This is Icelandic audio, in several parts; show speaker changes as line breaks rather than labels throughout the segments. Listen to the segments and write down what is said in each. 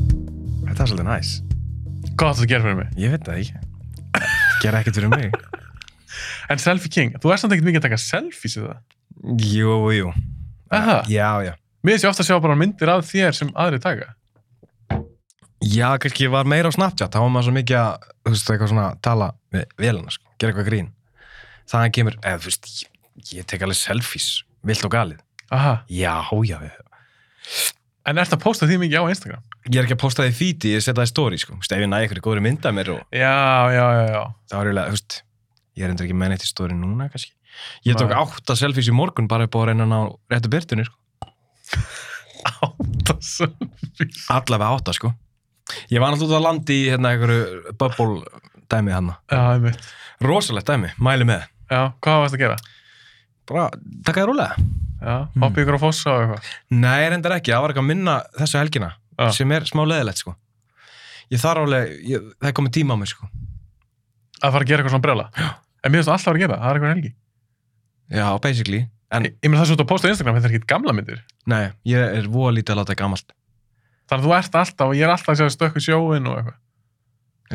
það er svolítið næs.
Hvað áttu að gera fyrir mig?
Ég veit það ekki. Gera ekkert fyrir mig.
En Selfie King, þú ert samt ekkert mikið að taka selfies í það.
Jú, jú.
Aha.
Já, já.
Mér sé ofta að sjá bara myndir af þér sem aðri taka.
Já, kannski var meira á Snapchat. Þá var maður svo mikið að, þú veist, eitthvað svona tala við velina, sko. Gera eitthvað grín. Þaðan kemur, eða, þú veist, ég, ég tek alveg selfies. Vilt og galið.
Aha.
Já, já, já.
En ert að posta því mikið á Instagram?
Ég er ekki að posta því fíti, ég setja það í story, sko. Þú veist, ef ég næ ykkur góðri mynda mér og
Já, já, já, já.
þá er ég lega, þú veist, ég er endur ekki með neitt í story núna, kannski. Ég tók
Nei.
átta selfies í morgun bara upp á að reyna að ná réttu byrtunni, sko.
Átta selfies.
Allavega átta, sko. Ég var náttúrulega út að landi í hérna einhverju bubble dæmið hann.
Já, einmitt.
Rosalegt dæmi, mæli með.
Já, hvað varst að gera?
Bara, taka þér rúlega.
Já, hoppa ykkur á fossa og eitthvað.
Nei, reyndar ekki, það var eitthvað að minna þessu helgina,
Já.
sem er smá leðilegt, sko. Ég þarf alveg, ég, það er komið tíma á mér, sko.
Að fara að gera eitthvað svona brjála.
Já.
En mér finnst það alltaf að gera, það er eitthvað helgi.
Já, basically. En,
Ég, ég meina það sem þú ert að posta á Instagram, þetta er ekki gamla myndir.
nei, ég er voða lítið að láta gamalt.
Þannig að þú ert alltaf, ég er alltaf að sjá stökku sjóin og eitthvað.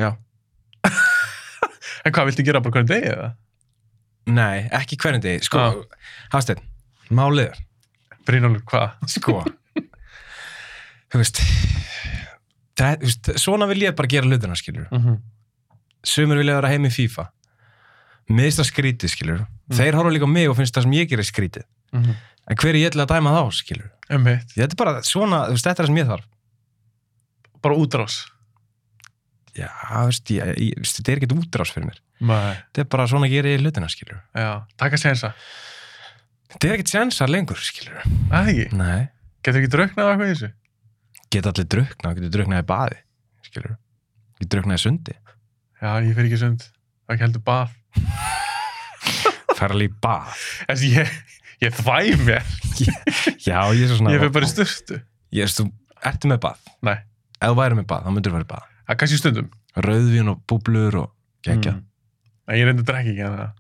Já.
En hvað, viltu gera bara hvernig degi eða?
Nei, ekki hvernig degi, sko.
Já.
Hafsteinn, málið er,
Brynjólfur, hvað?
sko. þú veist, það, þú veist, svona vil ég bara gera hlutina, skilur.
Mm -hmm.
Sumir vilja vera heim í FIFA. Mér finnst það skrítið, skilur. Þeir horfa líka á mig og finnst það sem ég gerir skrítið.
Mm -hmm.
En hver er ég til að dæma þá, skilur? Þetta er bara svona, þú veist, þetta er það sem ég þarf.
Bara útrás.
Já, þú veist, ég, ég, þú veist, þetta er ekkert útrás fyrir mér.
Nei.
Þetta er bara svona að gera hlutina, skilur.
Já, taka sénsa.
Þetta er ekkert sensar lengur, skilur.
Það ekki.
Nei.
Getur ekki dröknað eitthvað í þessu?
Geta allir drukna, getur druknað í baði, skilur. Getur druknað í sundi.
Já, ég fyrir ekki í sund. Það er ekki heldur bað.
fara alveg í bað
En ég, ég þvæ mér.
já, ég er svo svona
Ég fyrir bara í sturtu.
ég er stu, ertu með bað
Nei.
ef þú væri með bað, þá myndur þú verið bað
Það er kannski stundum.
rauðvín og búblur og gegja
Mm. En ég reyndi að drekka ekki hana.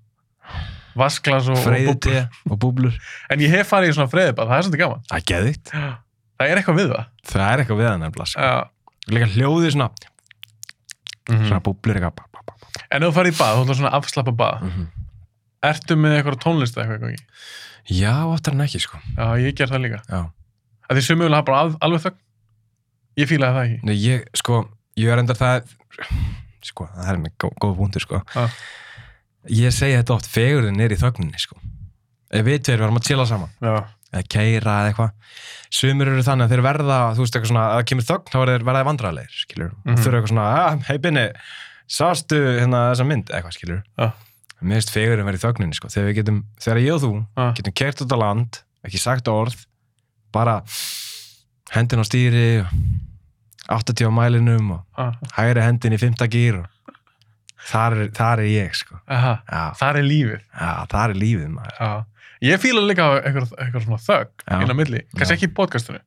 Vasklas og, og
freyði
búblur.
te og búblur
En ég hef farið í svona freyðibað. Það er svolítið gaman.
það er geðvikt,
Það er eitthvað við það.
það er eitthvað við það nefnilega sko.
Já. Mhm.
líka hljóðið svona,
Mm
svona búblur eitthvað bá, bá, bá, bá.
En ef þú farið í bað, þú ætlar svona afslappa bað. Ertu með eitthvað tónlist eða eitthvað í gangi?
já, oftar en ekki sko
Já, ég ger það líka.
Já.
Að því sumið vil hafa bara al, alveg þögn. Ég fílaði það ekki.
Nei, ég, sko, ég er endar það sko, það er með gó, góð búndur sko
Já.
ég segi þetta oft, fegurðin er í þögninni sko ef við tveir verðum að chilla saman
Já.
eða keira eða eitthvað sumir eru þannig að þeir verða þú veist eitthvað svona, að það kemur þögn þá eru þeir verða vandræðilegir, skilur mm
Mhm.
þurfa eitthvað svona, að, hei Binni sástu hérna þessa mynd, eitthvað skilur
Já.
mér finnst fegurinn verið í þögninni sko, þegar við getum, þegar ég og þú
Já.
getum kert út á land, ekki sagt orð bara hendin á stýri og 80 á mælinum og
Ah.
hægri hendin í 5. gýr og þar er, þar er ég sko
Aha.
já,
Þar er lífið.
já, þar er lífið maður
Já. Ég fíla líka eitthvað, eitthvað svona þögg
Já.
inn á milli, kannski
Já.
ekki í podcastinu.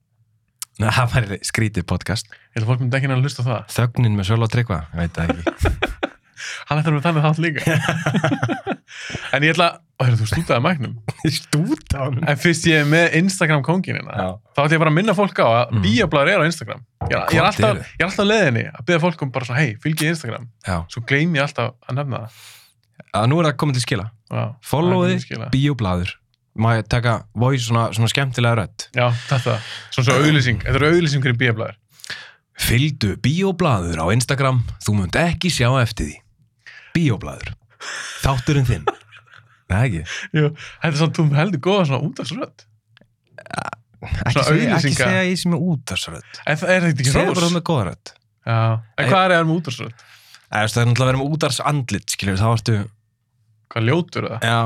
Nei, það var skrítið podcast
Ég held að fólk myndi ekki að hlusta á það.
Þögnin með Sjöla og Tryggva, ég veit það ekki.
Hann ætlar með þannig þátt líka. en ég ætla að, ó, heyrðu, þú stútaði mæknum.
Stúta á hann.
En fyrst ég er með Instagram kónginina,
Já.
þá ætla ég bara að minna fólk á að
Mm.
mm. bíablaður er á Instagram. Ég er, ég er
Hvort
alltaf,
eru?
ég er alltaf á leiðinni að byrja fólk um bara svona, hei, fylgið Instagram.
Já,
Svo gleym ég alltaf að nefna það.
að nú er það komið til skila.
Já.
Follow
Það er
þið,
ekki skila.
bíoblaður. Má ég taka voice svona, svona skemmtilega rödd.
Já, þetta. Svona svo auðlýsing. Þetta eru auðlýsingur í bíablaður.
Fylgdu bíoblaður á Instagram, þú munt ekki sjá eftir því. Bíoblaður. Þátturinn þinn. Nei, ekki.
Jú, Þetta er svona, þú heldur góða svona út af svo rödd.
Ekki
Svona
segja, ekki
auglýsinga.
segja ég sem er út af svo rödd.
En það er þetta ekki
Segja bara
rós.
þú með góða rödd.
Já, en
Ei-
hvað er það með útarsröð?
Eða, þú veist, Það er náttúrulega að vera með útars andlit, skiljum, þá ertu...
Hvað ljótur er það?
Já.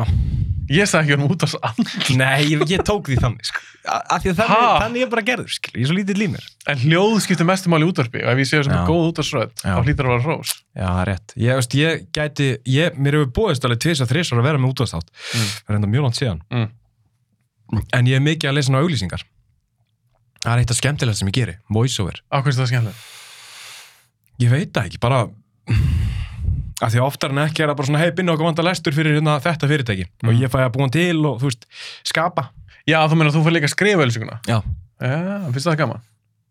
Ég sagði ekki um útarsröð,
Nei, ég, ég tók því þannig, sko. Af því að þannig,
Ha?
þannig er bara gerður, skiljum, ég er svo lítið límir.
en hljóð skiptir mestu máli í útarpi og ef ég segja svona
Já.
góð útarsröð,
Já.
þá hlýtur það að vera rós.
Já, það er rétt. Ég, veist, ég gæti, ég, mér hefur búist alveg tvis að þrisar að vera með útvarsþátt.
Mm.
Það er enda mjög langt síðan.
Mm.
En ég er mikið að lesa ná auglýsingar. Það er eitt af skemmtilegt sem ég geri. Voiceover.
Á hvernig það skemmtilegt?
Ég veit það ekki, bara... Af því að oftar en ekki er það bara svona heipinn okkur vanda lestur fyrir hérna, þetta fyrirtæki.
Mm.
Og ég fæ að búa hann til og, þú veist, skapa.
Já, þú meina að þú fyrir líka að skrifa ölsuguna.
Já.
Já, finnst það gaman.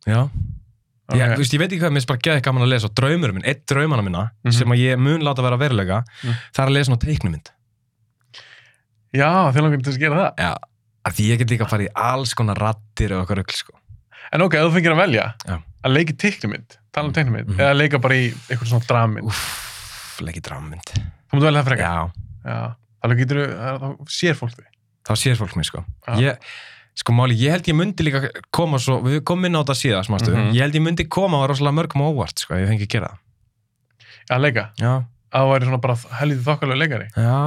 Já. Okay. Ég, þú veist, ég veit ekki hvað, mér finnst bara geðið gaman að lesa og draumur minn, eitt draumana minna
Mhm.
sem að ég mun láta vera veruleika
Mm.
það er að lesa nú teiknumynd
Já, þið langar til að gera það.
ja, af því ég get líka að fara í alls konar rattir og eitthvað rögl sko.
En ok, ef þú fengir að velja
Já.
að leika í teiknumynd, tala um teiknumynd,
Mhm.
eða leika bara í eitthvað svona drammynd.
Úff, leik í drammynd
Þú mútu velja það frekar.
Já,
Já. Þá getur þú, þá sér fólk því.
þá sér fólk mér sko
Já.
ég, Sko máli, ég held ég myndi líka koma svo, við komum inn á þetta síðan smastu,
Mhm.
ég held ég myndi koma á rosalega mörgum á óvart sko, ef ég fengi að gera það
Að leika.
Já,
Að það væri svona bara helgið þokkalega leikari.
já,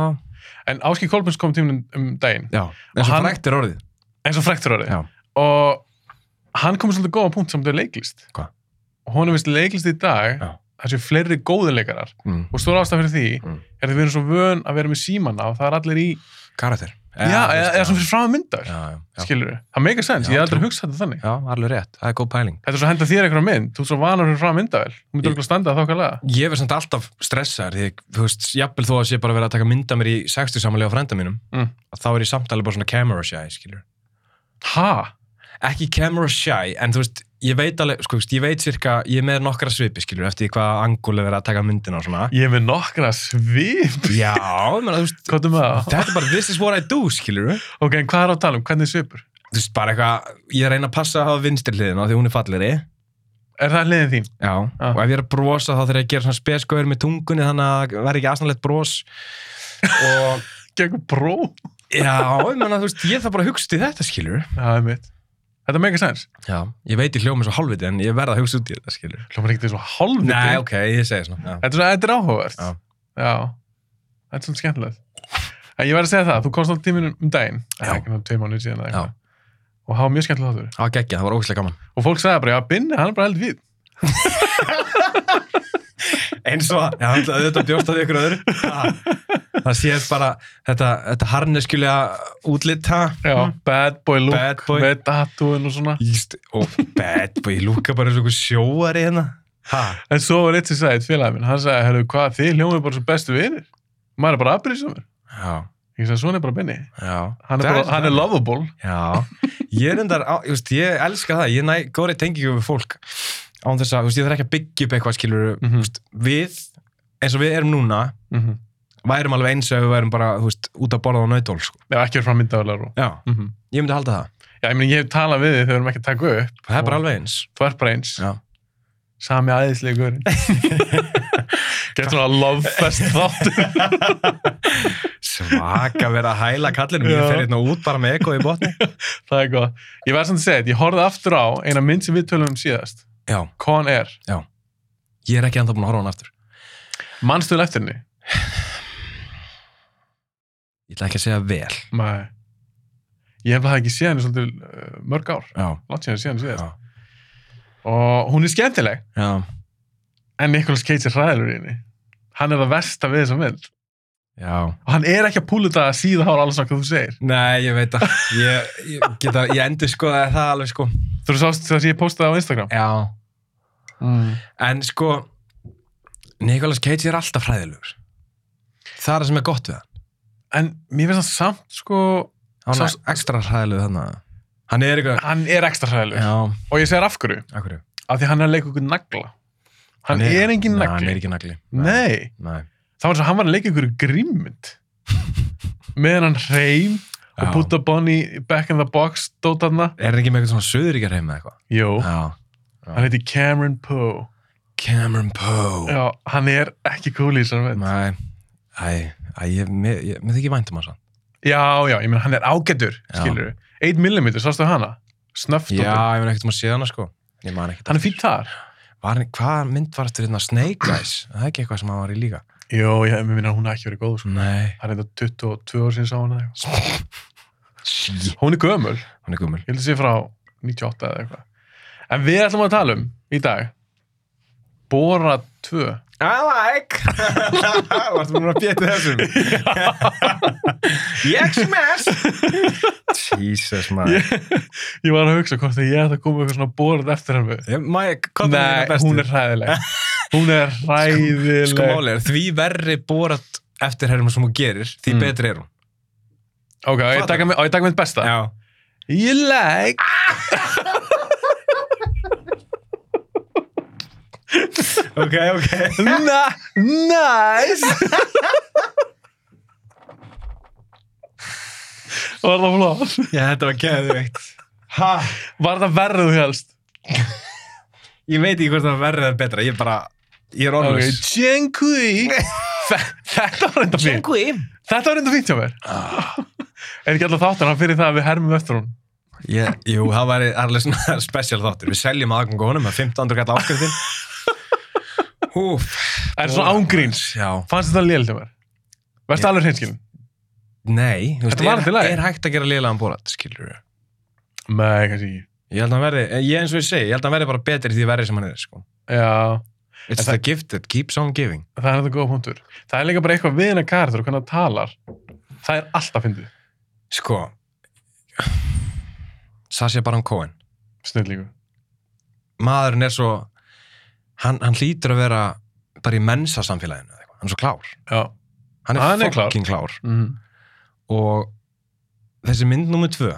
En Áski Kolbjörns kom tíminn um daginn,
já eins og
hann-
frækt er orðið
eins og fræktur orðið.
Já.
Og hann kom með svolítið góða punkt samt við leiklist.
Hvað?
Og hún er vist leiklist í dag,
Já.
það séu fleiri góði leikarar.
mm.
Og stóra ástæð fyrir því
Mm.
er að við erum svo vön að vera með símana og það er allir í,
Karakter
já, eða, eða svona fyrir frá myndar.
Já, já, já,
skilur við, það meikar sens,
Já,
ég hef aldrei
trú.
hugsað þetta þannig
já, alveg rétt, það er góð pæling
þetta er svo að henda þér einhverja mynd, þú ert svo vanur fyrir frá myndavel þú
Ég-
myndir okkur að standa það þokkalega
Ég verð samt alltaf stressaður því, þú veist, jafnvel þó að sé bara verið að taka mynda mér í 60 samanlega á frænda mínum
Mm.
að þá er ég samtalið bara svona camera shy, skilur
ha,
Ekki camera shy, en þú veist, ég veit alveg, sko, þú veist, ég veit cirka, ég er með nokkra svipi, skilur, eftir því hvaða angul er verið að taka myndina og svona
ég er með nokkra svip
Já, ég meina, þú veist,
hvað er með það,
þetta er bara, this is what I do, skilur
ok, en hvað er á að tala um, hvernig svipur
Þú veist, bara eitthvað, ég reyna að passa að hafa vinstri hliðina því hún er fallegri
er það hliðin þín,
Já,
Ah.
og ef ég er að brosa þá þarf ég að gera svona spesgöður með tungunni þannig að það verði ekki aðsannlegt bros og
gegn bró
já, ég meina, þú veist, ég þarf bara að hugsa til þetta skilur
það er mitt, þetta meikar sens
Já, ég veit ég hljóma svo hálfviti en ég verð að hugsa út í þetta skilur
hljómar ekkert þessu hálfviti
Nei,
þetta
ok, ég segi svona já.
er svona, þetta er áhugavert
Já.
Já. þetta er svona skemmtilegt en ég verð að segja það, þú komst á tíminu um daginn
Já.
ekki náttúrulega tveim mánuð síðan
Já.
eða eitthvað. og það var mjög skemmtilega þáttur
Það var geggja, það var ógæslega gaman
og fólk sagði bara, já, Binni, hann er bara held við
Eins og, Ah. já, þetta- þetta bjóst að ykkur öðru Það það séð bara þetta, þetta harneskjulega útlit ha?
Já, bad boy look
Bad boy.
með tatúin og svona
Íst, og bad boy, ég lúka bara eins og einhver sjóari hérna ha?
En svo var eitt sem sagði, eitt félagi minn, hann sagði, herru, hvað, þið hljómið bara sem bestu vinir maður er bara aðbrísamur
Já,
Ég sagði, svona er bara Benni
já
Hann
Það
er, bara, hann er
þannig.
lovable
Já, ég er endar, á, ég, veist, ég elska það, ég næ góðri tengingu við fólk án þess að, þú veist, ég þarf ekki að byggja upp eitthvað skilur, þú
Mhm.
veist, við eins og við erum núna,
mm
værum alveg eins ef við værum bara, þú veist, út að borða á nautól, sko.
Já, ekki er frá myndaðulegar og
Já,
mm
ég myndi halda það.
Já, ég meni, ég hef talað við þið þegar við erum ekki að taka upp
Það er bara
Og
alveg eins.
Þú er bara eins,
Já.
sami aðeinslegur Getur svona love fest þáttur
Svaka vera að hæla kallinum, ég
Já.
fer hérna út bara með eko í botni.
Það er góð Ég verð samt að segja, þetta, ég horfði aftur á eina mynd sem við tölum um síðast
Já,
Con Air,
ég er ekki enda búin að horfa á hann aftur.
mannstuðl eftir henni
Ég ætla ekki að segja vel.
Nei. Ég hef það ekki séð henni svolítið uh, mörg ár,
Já,
látt séð henni síðan síðast.
já,
Og hún er skemmtileg,
já.
en Nicolas Cage er hræðilur í henni. Hann er það versta við þessa mynd.
já.
Og hann er ekki að púla þetta að síða hára alveg svona hvað þú segir.
Nei, ég veit að, ég, ég, geta, ég endur skoða það alveg, sko.
Þú eru sást þess að ég postaði á Instagram.
Já,
Mm.
En sko Nicolas Cage er alltaf fræðilegur Það er það sem er gott við hann
En mér finnst það samt, sko,
Hann er
Sá-
ekstra fræðilegur þannig að Hann er eitthvað
hann er ekstra hræðilur.
Já,
Og ég segir af hverju,
akkur Hann,
af því hann er að leika ykkur nagla. Hann, er engin
Nei,
nagli.
Hann er ekki nagli
Nei,
Nei.
það var eins og hann var að leika ykkur grímmynd. Meðan hann hreim og
Já.
putta Bonnie back in the box dótarna.
Er hann ekki með eitthvað svona söðuríkjar heim eða eitthvað
Jú,
Já
hann heiti Cameron Poe.
Cameron Poe
Já, hann er ekki cool í þessar veit.
Nei Æ, æ, ég, mér, ég, mér þykir um væntum hans
Já, já, ég meina hann er ágætur,
Já.
skilur við. 1mm, sástu hana? Snöft
Já, ég veit ekkert um að sé hana sko Ég man ekkert
Hann er fýtt þar.
Var hann- Hvað mynd var eftir hérna Snake Eyes? Það er ekki eitthvað sem hann var í líka
Jó, ég meina hún er ekki verið góð, sko.
Nei
Hann er þetta 22 ár síðan sá hana. eða eitthvað.
Sí
Hún er gömul,
Hann er gummul
ég held að sé frá 98 eða eitthvað. En við ætlum að tala um í dag, Bora 2.
I like Vartu búin að bjöta þessum Ég smash Jesus man
Ég, ég var að hugsa hvort að ég ætti að koma með eitthvað svona borað eftir hann við.
Mike, hvað er
Nei,
það
hún er hræðileg. Hún er hræðileg.
Sko máli er, því verri borat eftir herrum sem hún gerir, því
Mm.
betri er hún
Ok, á ég taka mi- á ég taka mitt besta.
Já
You like
ok, ok
Na, nice Var það flott?
Já, þetta var geðveikt Ha,
Var það verðið helst?
ég veit ekki hvort það var verrið eða betra Ég er bara, ég er orðlös
Ok, Tjenkui Þe- Þetta var reynda fínt
Sjöngvi
Þetta var reynda fínt hjá mér Ah. Er ekki alltaf þáttan hann fyrir það að við hermum eftir hún
Jú, það var alveg svona special þáttur Við seljum aðgang honum með 15. gæta áskriftin Húf
Er það svona ángríns?
Já,
Fannst þetta lél hjá mér? Verstu
Já.
alveg hreinskilin?
nei þú
Þetta var allt í lagi.
er, er hægt að gera liðlegan bólat, skilur við
Nei, kannski ekki
Ég held að hann verði, eh, ég eins og ég segi, ég held að hann verði bara betri því verri sem hann er, sko
Já,
It's
En
the gift that keeps on giving
það er þetta góða punktur Það er líka bara eitthvað við hennar karakter og hvernig það talar Það er alltaf fyndið,
Sko Sasha Baron Cohen
snillíku
maðurinn er svo hann, hann hlýtur að vera bara í mensa samfélaginu eða eitthvað. hann er svo klár,
Já,
hann er,
Hann er klár.
fucking klár.
mm.
og þessi mynd nummer tvö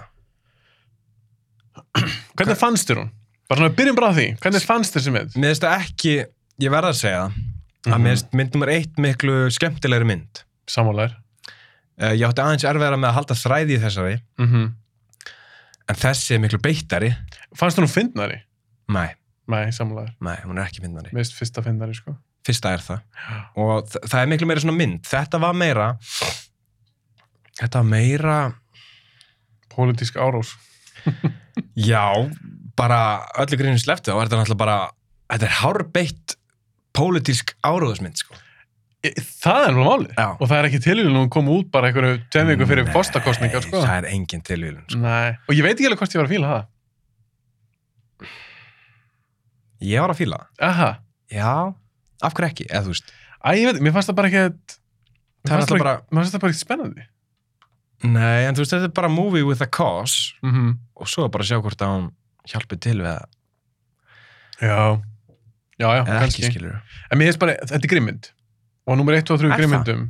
Hvernig fannst þér hún? Bara svona, byrjum bara á því. Hvernig fannst þér sem mynd?
mér finnst það ekki, ég verða að segja það að
Mhm.
mér finnst mynd nummer eitt miklu skemmtilegri mynd
Samanlegar.
Eh, ég átti aðeins erfiðara með að halda þræði í þessari
Mm
en þessi er miklu beittari
Fannst þér hún fyndnari?
nei,
Nei, samanlegar.
nei, hún er ekki myndari
Mér finnst fyrsta fyndnari, sko.
fyrsta er það og þa- það er miklu meira svona mynd þetta var meira þetta var meira
Pólitísk árós.
Já, bara öllu grínum sleftu þá er þetta náttúrulega bara þetta er hárbeitt pólitísk áróðusmynd sko.
E, það er nú málið.
Já.
Og það er ekki tilvíðin hún kom út bara einhverju tveim viku fyrir
Nei,
fórstakostningar, sko.
Það er engin tilvílun sko.
Nei. Og ég veit ekki alveg hvort ég var að fíla það.
Ég var að fíla það.
Aha.
Já, af hverju ekki, eða þú veist
Æ, ég veit, mér fannst það bara ekkert...
Það er
Mér fannst það
náttúrulega
bara...
bara,
Mér fannst það bara ekkert spennandi.
nei, en þú veist, þetta er bara movie with a cause
Mm
og svo er bara að sjá hvort að hún hjálpi til við það,
Já. Já, já,
eða
kannski.
ekki skilur
En mér finnst bara, þetta er grimmynd. Og nummer 1 og 3
Er það?
grimmyndum.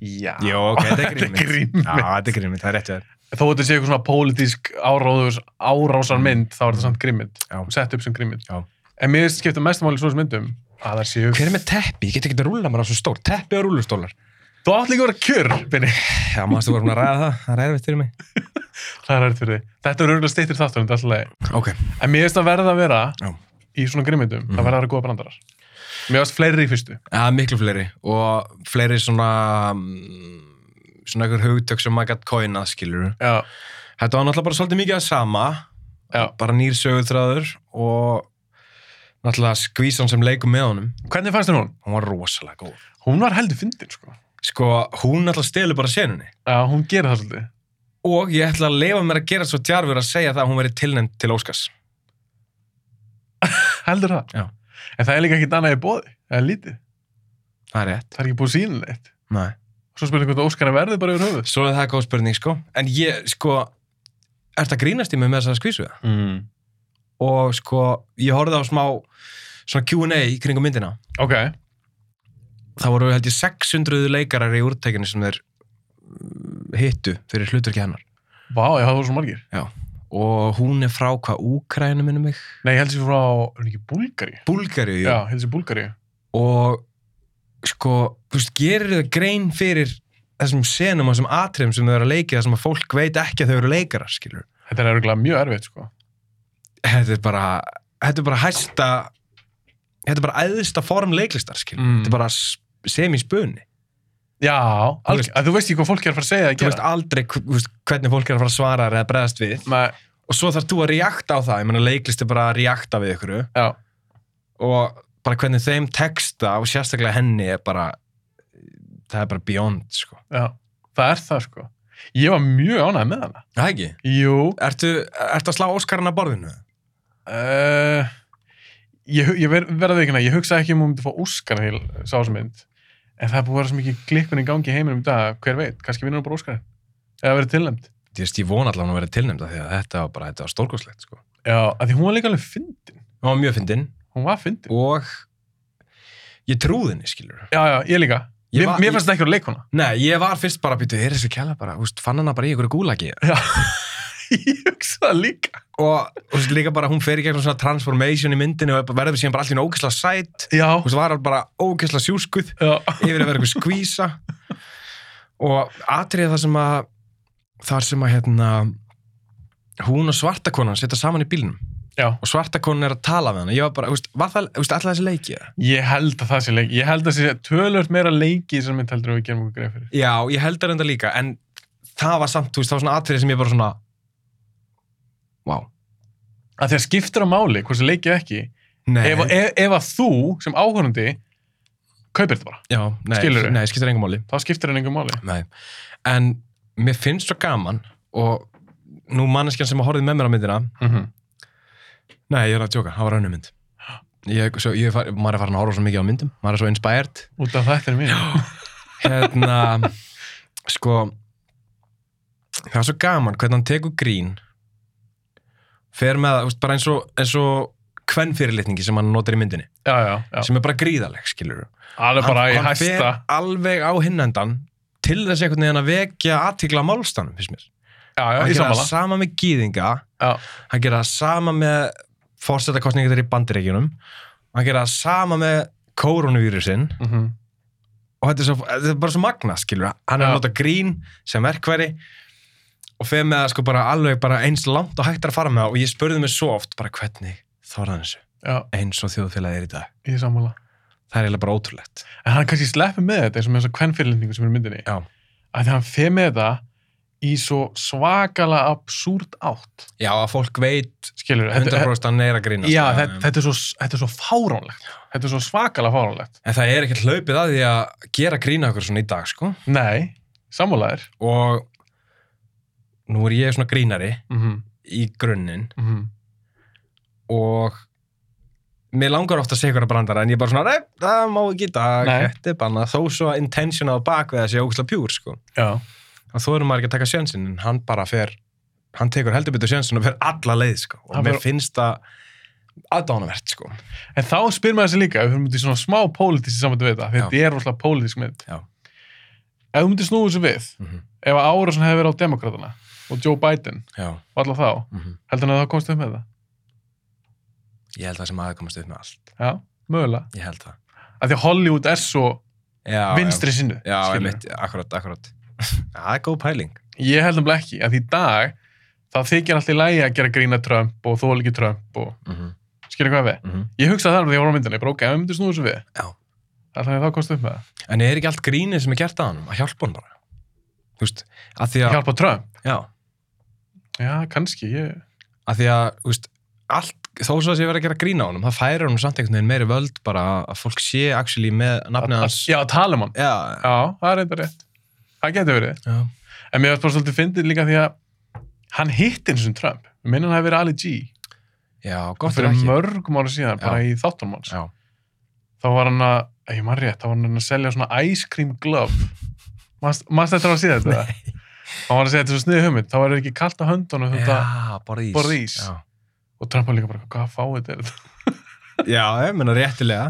Já.
Jó, ok, þetta er
Þetta
grímið Já,
er grímmynd.
þetta er grímið, það er rétt verið
þó að þetta sé eitthvað svona pólitísk áráðus, árásar mynd, þá er þetta samt grimmynd
Mm. Já.
sett upp sem grimmynd
Já.
en mér skipta mestumáli svona myndum að það séu
Hver er með teppi? Ég get ekki að rúlla mér á svo stór Teppi og rúllustólar
þú átt líka að vera kjör Benni.
Já, maður stu vorum að ræða það, það er erfitt fyrir mig
það er hægt fyrir þig þetta er örgulega stýttir þáttur en þetta er alltaf leið
Ok,
en mér finnst það verða að vera
Já.
í svona grimmyndum það verða að vera góða brandarar Mhm. mér finnst fleiri í fyrstu
Já, miklu fleiri og fleiri svona mm, svona einhver hugtök sem maður gætt kóinað skilur.
já,
Þetta var náttúrulega bara svolítið mikið að sama
já.
bara nýr sögutræður og náttúrulega skvísan sem leikum með honum
hvernig fannst þér hún?
hún var rosalega góð.
hún var heldur fyndin sko.
Sko, hún náttúrulega stelur bara senunni
já, hún gerir það svolítið
og ég ætla að leifa mér að gera svo djarfur að segja það að hún verið tilnæmt til Óskars.
heldur það
Já.
en það er líka ekkit annað í bóði það er lítið
Það er rétt.
það er ekki búið sínilegt
Nei.
svo spyrir hvort Óskarna verði bara yfir höfuð
Svo er það góð spurning, sko. En ég, sko, ert að grínast í mig með þess að skvísu það?
mm.
og sko, ég horfði á smá svona Q&A í kringum myndina
ok,
það voru held ég 600 leikarar í úrtækinu sem þeir uh, hittu fyrir hlutverki hennar
vá, ég hafði svo margir
og hún er frá hvað Úkrænum minnum mig
Nei, ég held sér frá, er hún ekki Búlgari?
Búlgari
Já, ég held sér Búlgari.
og sko, þú veist, gerir það grein fyrir þessum senum og þessum atriðum sem þau eru að leiki þar sem að fólk veit ekki að þau eru leikarar skilur,
Þetta er örgulega mjög erfitt, sko.
þetta er bara þetta er bara hæsta þetta er bara æðsta form leiklistar skilur,
Mm.
þetta er bara s- sem í spuni
Já, alg,
veist-
að þú veist ekki hvað fólk er að fara að segja að
þú veist
gera.
aldrei hv- þú veist, hvernig fólk er að fara að svara þér eða bregðast við
Með,
og svo þarf þú að reakta á það ég meina leiklist er bara að reakta við ykkur
já,
og bara hvernig þeim texta og sérstaklega henni er bara það er bara beyond sko
já, það er það, sko. Ég var mjög ánægð með hana.
Það ekki?
Jú,
Ertu, ertu að slá Óskarinn að borðinu?
uh, ég, hu- ég ver, verða ekki hana, ég hugsaði ekki um hún myndi fá Óskarna til sásmynd. En það er búið að vera svo mikið klikkun í gangi í heiminum í dag, hver veit, kannski vinnur hún bara Óskarinn. Eða verið tilnæmt.
Ég veist, ég vona allavega að vera tilnæmda því að þetta var bara, þetta var stórkoslegt sko.
Já, að því hún var líka alveg fyndin.
Hún var mjög fyndin
Hún var fyndin.
og ég trúði henni, skilur.
Já, já, ég líka.
Ég
Mér,
var-
mér fannst það ekki að leikona.
Nei, ég var fyrst bara að býta, er þessi kjalla bara, þú veist, fann hana bara í ykkur gúlagi.
Já. ég hugsa það líka.
og, og þú veist, líka bara hún fer í gegnum svona transformation í myndinu og verður síðan bara allir ógæsla sætt
Já,
og svo var hann bara ógæsla sjúskuð
já,
yfir að vera eitthvað skvísa og atrið það sem að þar sem að hérna hún og svartakonan setja saman í bílnum
já.
og svartakonan er að tala við hann ég var bara, þú veist, var það, þú veist, alltaf þessi leiki eða?
Ég held að það sé leik. Ég held að það sé tölvöld meira leiki í þessar mynd heldur en við gerum okkur greið fyrir.
já, ég held að reynda líka en það var samt, þú veist, það var svona atrið sem ég bara svona wow,
Að því að skiptir á máli hvort það leikið ekki.
nei,
Ef, ef, ef að þú sem áhörandi kaupir þetta bara.
já, nei,
Skilurðu?
nei, skiptir engum máli
Þá skiptir hann engum máli.
Nei. En mér finnst svo gaman og nú manneskjan sem horfði með mér á myndina
Mm
Nei, ég er að tjóka, það var önnum mynd ég, svo, ég, er far- Maður er farin að horfa svo mikið á myndum maður er svo inspired
Út af þetta er mín.
hérna, Sko Það var svo gaman hvernig hann tekur grín fer með það, þú veist, bara eins og, eins og kvennfyrirlitningi sem hann notar í myndinni
Já, já, já.
sem er bara gríðaleg, skilur
Alveg bara í
fer
hæsta.
alveg á hinnendan til þess einhvern veginn að vekja aðtikla málstanum, finnst mér
Já, já,
hann
í
gera það
sammála.
sama með gýðinga
Já.
hann gera það sama með fórsetakostningar þeirra í bandiríkjunum hann gera það sama með koronavírusin
Mhm.
og þetta er, svo, þetta er bara svo magna skilur hann er
Já.
að nota grín sem verkværi og fer með það sko bara alveg bara eins langt og hægt er að fara með það og ég spurði mig svo oft bara hvernig þorðan þessu
Já,
eins og þjóðfélagið er í dag
í sammála.
það er eiginlega bara ótrúlegt
En hann kannski sleppur með þetta eins og með þessa kvennfyrirlendingu sem er í myndinni.
Já.
Að því hann fer með þetta í svo svakala absúrt átt.
já að fólk veit
Skilur,
100% að hann er að grína
Já, þetta, þetta, er svo, þetta er svo fáránlegt. Þetta er svo svakala fáránlegt.
en það er ekkert hlaupið að því að gera grína okkur svona í dag sko
Nei, sammálaðir.
og nú er ég svona grínari
Mm -hmm.
í grunninn og mér langar ofta að segja eitthvað brandara en ég er bara svona, nei, það má ekki í dag
Nei.
þetta er bara þó svo að intention á bak við það sé ógustlega pjúr, sko
Já,
og þó erum maður ekki að taka sjensin, en hann bara fer hann tekur heldur betur sjensin og fer alla leið sko. og
Hann
mér
fer-
finnst það aðdánavert, sko
en þá spyr maður þessi líka, ef við höfum út í svona smá pólitísi saman við þetta, þetta er rosalega pólitísk mynd.
Já.
Ef þú myndir snúið þessu við,
Mhm.
ef að Árason hefði verið á demokratana og Joe Biden
já,
og alla þá,
mhm.
heldur hann að það komst upp með það?
ég held það sem aðeins komast upp með allt
Já, mögulega.
ég held það
Af því að Hollywood er svo
já,
vinstri sinnu.
já, já,
skilurðu.
einmitt, akkurat, akkurat það er góð pæling
Ég held um ekki, að í dag það þykir alltaf í lægi að gera grína Trump og þól ekki Trump og
mhm,
skilja hvað við.
mhm.
Ég hugsaði það um því að ég voru á myndinni, ég bara ok, ef við myndum snúið þessu við.
Já.
Alltaf að það komst upp með það.
En er ekki allt grínið sem er gert að hann að hjálpa hann bara? Þú veist, að því að,
Hjálpa Trump?
já,
Já, kannski, ég...
að því að, þú veist, allt, þó svo að sé verið að gera grín á honum, það færir honum samt einhvern veginn meiri völd bara að fólk sé actually með nafnið hans.
Já, að tala um hann.
Já,
Já, það er eitthvað rétt. Það getur verið.
já,
En mér varst bara svolítið fyndið líka því að hann hitti eins og Trump. Mér minnir hann hafi verið Ali G.
já, gott er
fyrir
ekki.
mörgum ára síðan, bara í þáttunum hans.
Já,
þá var hann að, ef ég maður rétt, þá var hann að selja svona ice cream glove. Mannst þetta að síða þetta? Nei. Hann var að segja þetta er svo sniði hugmynd, þá var þetta ekki kalt á höndunum þetta,
já, bara ís.
borða ís.
Já,
og Trump var líka bara, hvað fáið þetta er þetta?
já ég menna réttilega.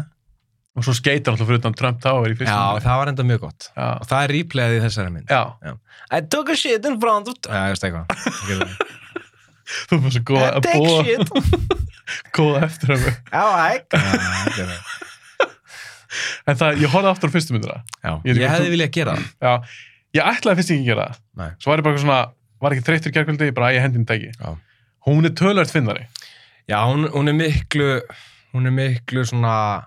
Og svo skeitar alltaf fyrir utan Trump Tower í
Já,
fyrstu. myndinni.
það var enda mjög gott.
Já,
Og það er replayið í þessari mynd.
já,
I took a shit in front of... Já, ég veist eitthvað. Ég gerði það.
þú var svo góð að búa, góða eftir hann.
I like. Já, ég gerði það.
En það, ég horfði aftur á fyrstu myndina.
Já,
Ég veit ekki
ég
hvort
hefði
þú-
viljað gera það.
Já, ég ætlaði fyrst ekki að gera það.
Nei.
Svo var ég bara eitthvað svona, var ekki þreyttur gerkvöldi, ég bara, æ, ég hendin tæki.
Já.
Hún er tölvært finnari.
Já, hún, hún er miklu hún er miklu svona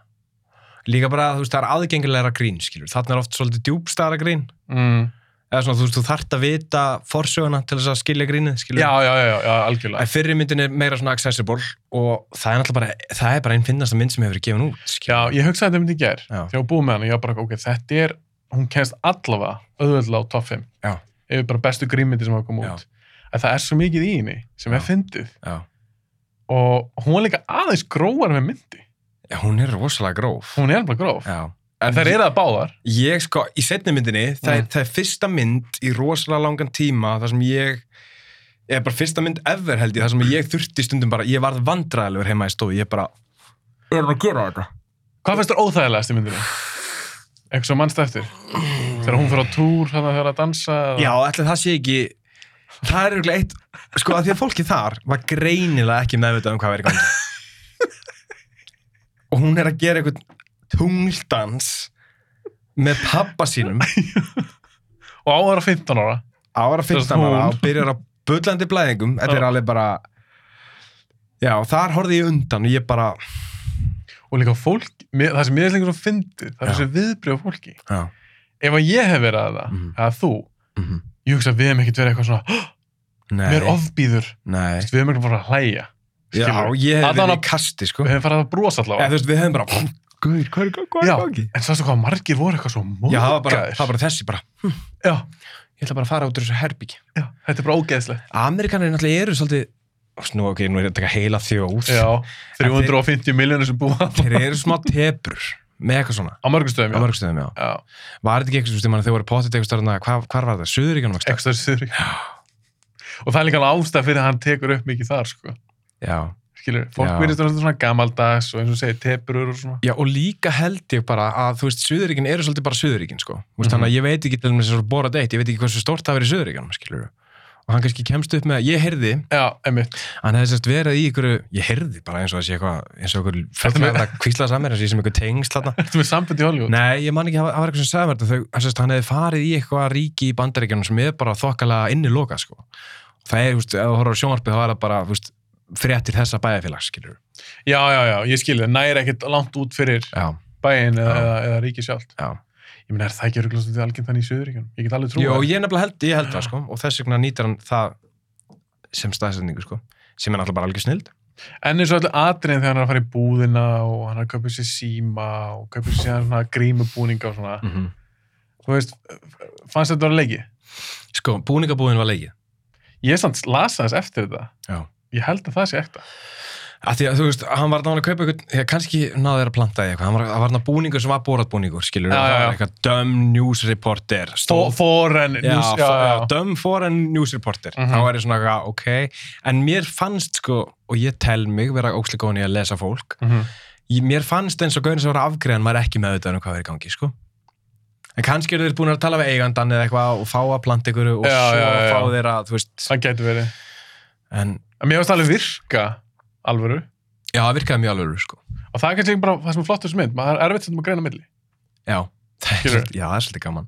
líka bara, þú veist, það er aðgengilegra grín skilur, þarna er oft svolítið djúbstara grín
Mm.
eða svona, þú veist, þú þarft að vita forsöguna til þess að skilja grínið skilur,
Já, já, já, já, algjörlega.
en fyrri myndin er meira svona accessible og það er náttúrulega bara það er bara einn finnasta mynd sem hefur verið gefin út
Já,
skilur.
ég hugsaði þetta myndi í ger.
Já.
Þegar ég var búið með hann, ég var bara, ok, þetta er, hún kennst allavega auðvöldlega á top 5.
Já.
Yfir bara bestu grímyndi sem hafa komið
Já.
út. Að það er svo mikið í henni sem
Já.
er fyndið.
Já.
Og hún er líka aðeins grófar með myndi.
Já, hún er rosalega gróf
Hún er alveg gróf.
Já.
En þær eru það báðar.
Ég sko, í setni myndinni, það, er,
Mm.
það er fyrsta mynd í rosalega langan tíma þar sem ég, ég er bara fyrsta mynd ever held ég, þar sem ég þurfti stundum bara, ég varð vandræðilegur heima í stofu, ég bara, er hann að gera þetta?
Hvað finnst þér óþægilegast í myndinni? Eitthvað sem mannst eftir. Þegar hún fyrir á túr, þannig að það er að dansa. eða-
Já, ætli það sé ekki, það er örugglega eitt, sko að því að fólki þar var greinilega ekki meðvitað um hvað verið gangi og hún er að gera eitthvað tungldans með pappa sínum
og á að vera 15 ára
ára
Þú veist,
15 ára
hún.
og byrjar á bullandi blæðingum þetta er
Já.
alveg bara já, þar horfði ég undan og ég bara
og líka fólk, mér, það sem mér er lengur svo fyndið, það er
Já.
þessi viðbrjóð fólki
já,
ef að ég hef verið að það,
Mhm.
eða þú
mhm,
ég hugsa að við hefum ekkert verið eitthvað svona "Hó,
nei,
mér ofbýður,
nei
við hefum ekkert bara að hlæja
já,
skilurðu.
ég hef verið
Allan
í
að-
kasti sko,
við
eða
hefum farið að brosa allavega
þú veist, við hefum bara guður, hvað er hvað
Já.
er gangi?
en svo hvað margir voru eitthvað svo
Já, það var bara,
mókaðir
það var bara þessi bara
já,
Ég ætla bara að fara út úr þessu herbyggi
já, þetta er bara ógeðslegt
Amerikanar náttúrulega eru svolítið Nú, ok, nú er þetta ekki heila þjóð
já, 350 miljónir sem búa á
Þeir eru smá tepur með eitthvað svona
mörgum
á
stöðum, já,
mörgum stöðum, já
já.
Var þetta ekki eitthvað, þú veist, ég man, þau voru potið eitthvað stærna Hvað hvar var það? Suðuríkjanum ekki
ekstra syðri og það er líka alveg ástæð fyrir að hann tekur upp mikið þar sko.
Já
skilur, fólk
Já.
verður þetta svona gamaldags og eins og segir tepurur og svona
Já, og líka held ég bara að, þú veist, Suðuríkjan eru svolítið bara Suðuríkjan, sko Þú veist,
Mhm.
Þannig að ég veit ekki til þess að bora deitt Ég veit ekki hversu stórt það verið Suðuríkjanum, skilur Og hann kannski kemst upp með, ég heyrði
já, einmitt,
hann hefði sérst verið í ykkur ég heyrði bara eins og það sé eitthvað eins og ykkur
með-
fjöldlega að kvísla saman eins og ég sem ykkur tengsl þarna
ertu með sambund í Hollywood
Nei, ég man ekki, það var- það var eitthvað sem sagði mér þetta þau- hann, sérst, hann hefði farið í eitthvað ríki í bandaríkjunum sem er bara þokkalega inniloka sko. það er, þú veist, ef þú horfður á sjónvarpið þá er það bara, þú veist, fréttir þessa bæjarfélags skilur
já, já, já, ég skilur, næri ekkert langt út fyrir
Já,
bæin eða,
Já.
eða, eða ríki sjálft
já.
ég meina, er það ekki örglast út í algjörn þannig í Suðuríkjum ég get alveg trúið
Jó,
það.
ég nefnilega held, ég held það sko, og þess vegna nýtir hann það sem staðsendingu sko, sem er náttúrulega bara algjör snild
en eins og allir atriðin þegar hann er að fara í búðina og hann er að kaupa sér síma og kaupa sér svona grímubúninga og svona
-hmm.
þú veist, fannst þetta vera leiki
Sko, búningabúðin var leikið
ég samt lasa þess eftir þetta
Já.
ég held að það sé ekta
að því að þú veist, hann var náttúrulega að kaupa eitthvað, ég, kannski náði þér að planta í eitthvað, hann var, hann var náttúrulega búningur sem var boratbúningur, skilur,
Já,
og það
já, já.
var eitthvað dumb news reporter,
Fo- foreign
já,
news-
já, dumb foreign news reporter,
Mhm.
þá er ég svona eitthvað, ok, en mér fannst sko, og ég tel mig vera óksleikóni að lesa fólk,
Mhm.
ég, mér fannst eins og gauðin sem var afgreðan, maður er ekki með um hvað er í gangi, sko. En kannski eru þeir búin að tala við eigandann eða eitthvað og fá að planta ykkur og
Já,
svo
já, já, já.
fá þeir að, þú veist,
það getur verið
en
En mér finnst það alveg virka alvöru
já, það virkaði mjög alveg, sko.
og það er kannski bara það sem er flottur sem mynd maður er erfitt sem að greina á milli
Já, það er,
Skilurðu?
svolítið- já, það er svolítið gaman.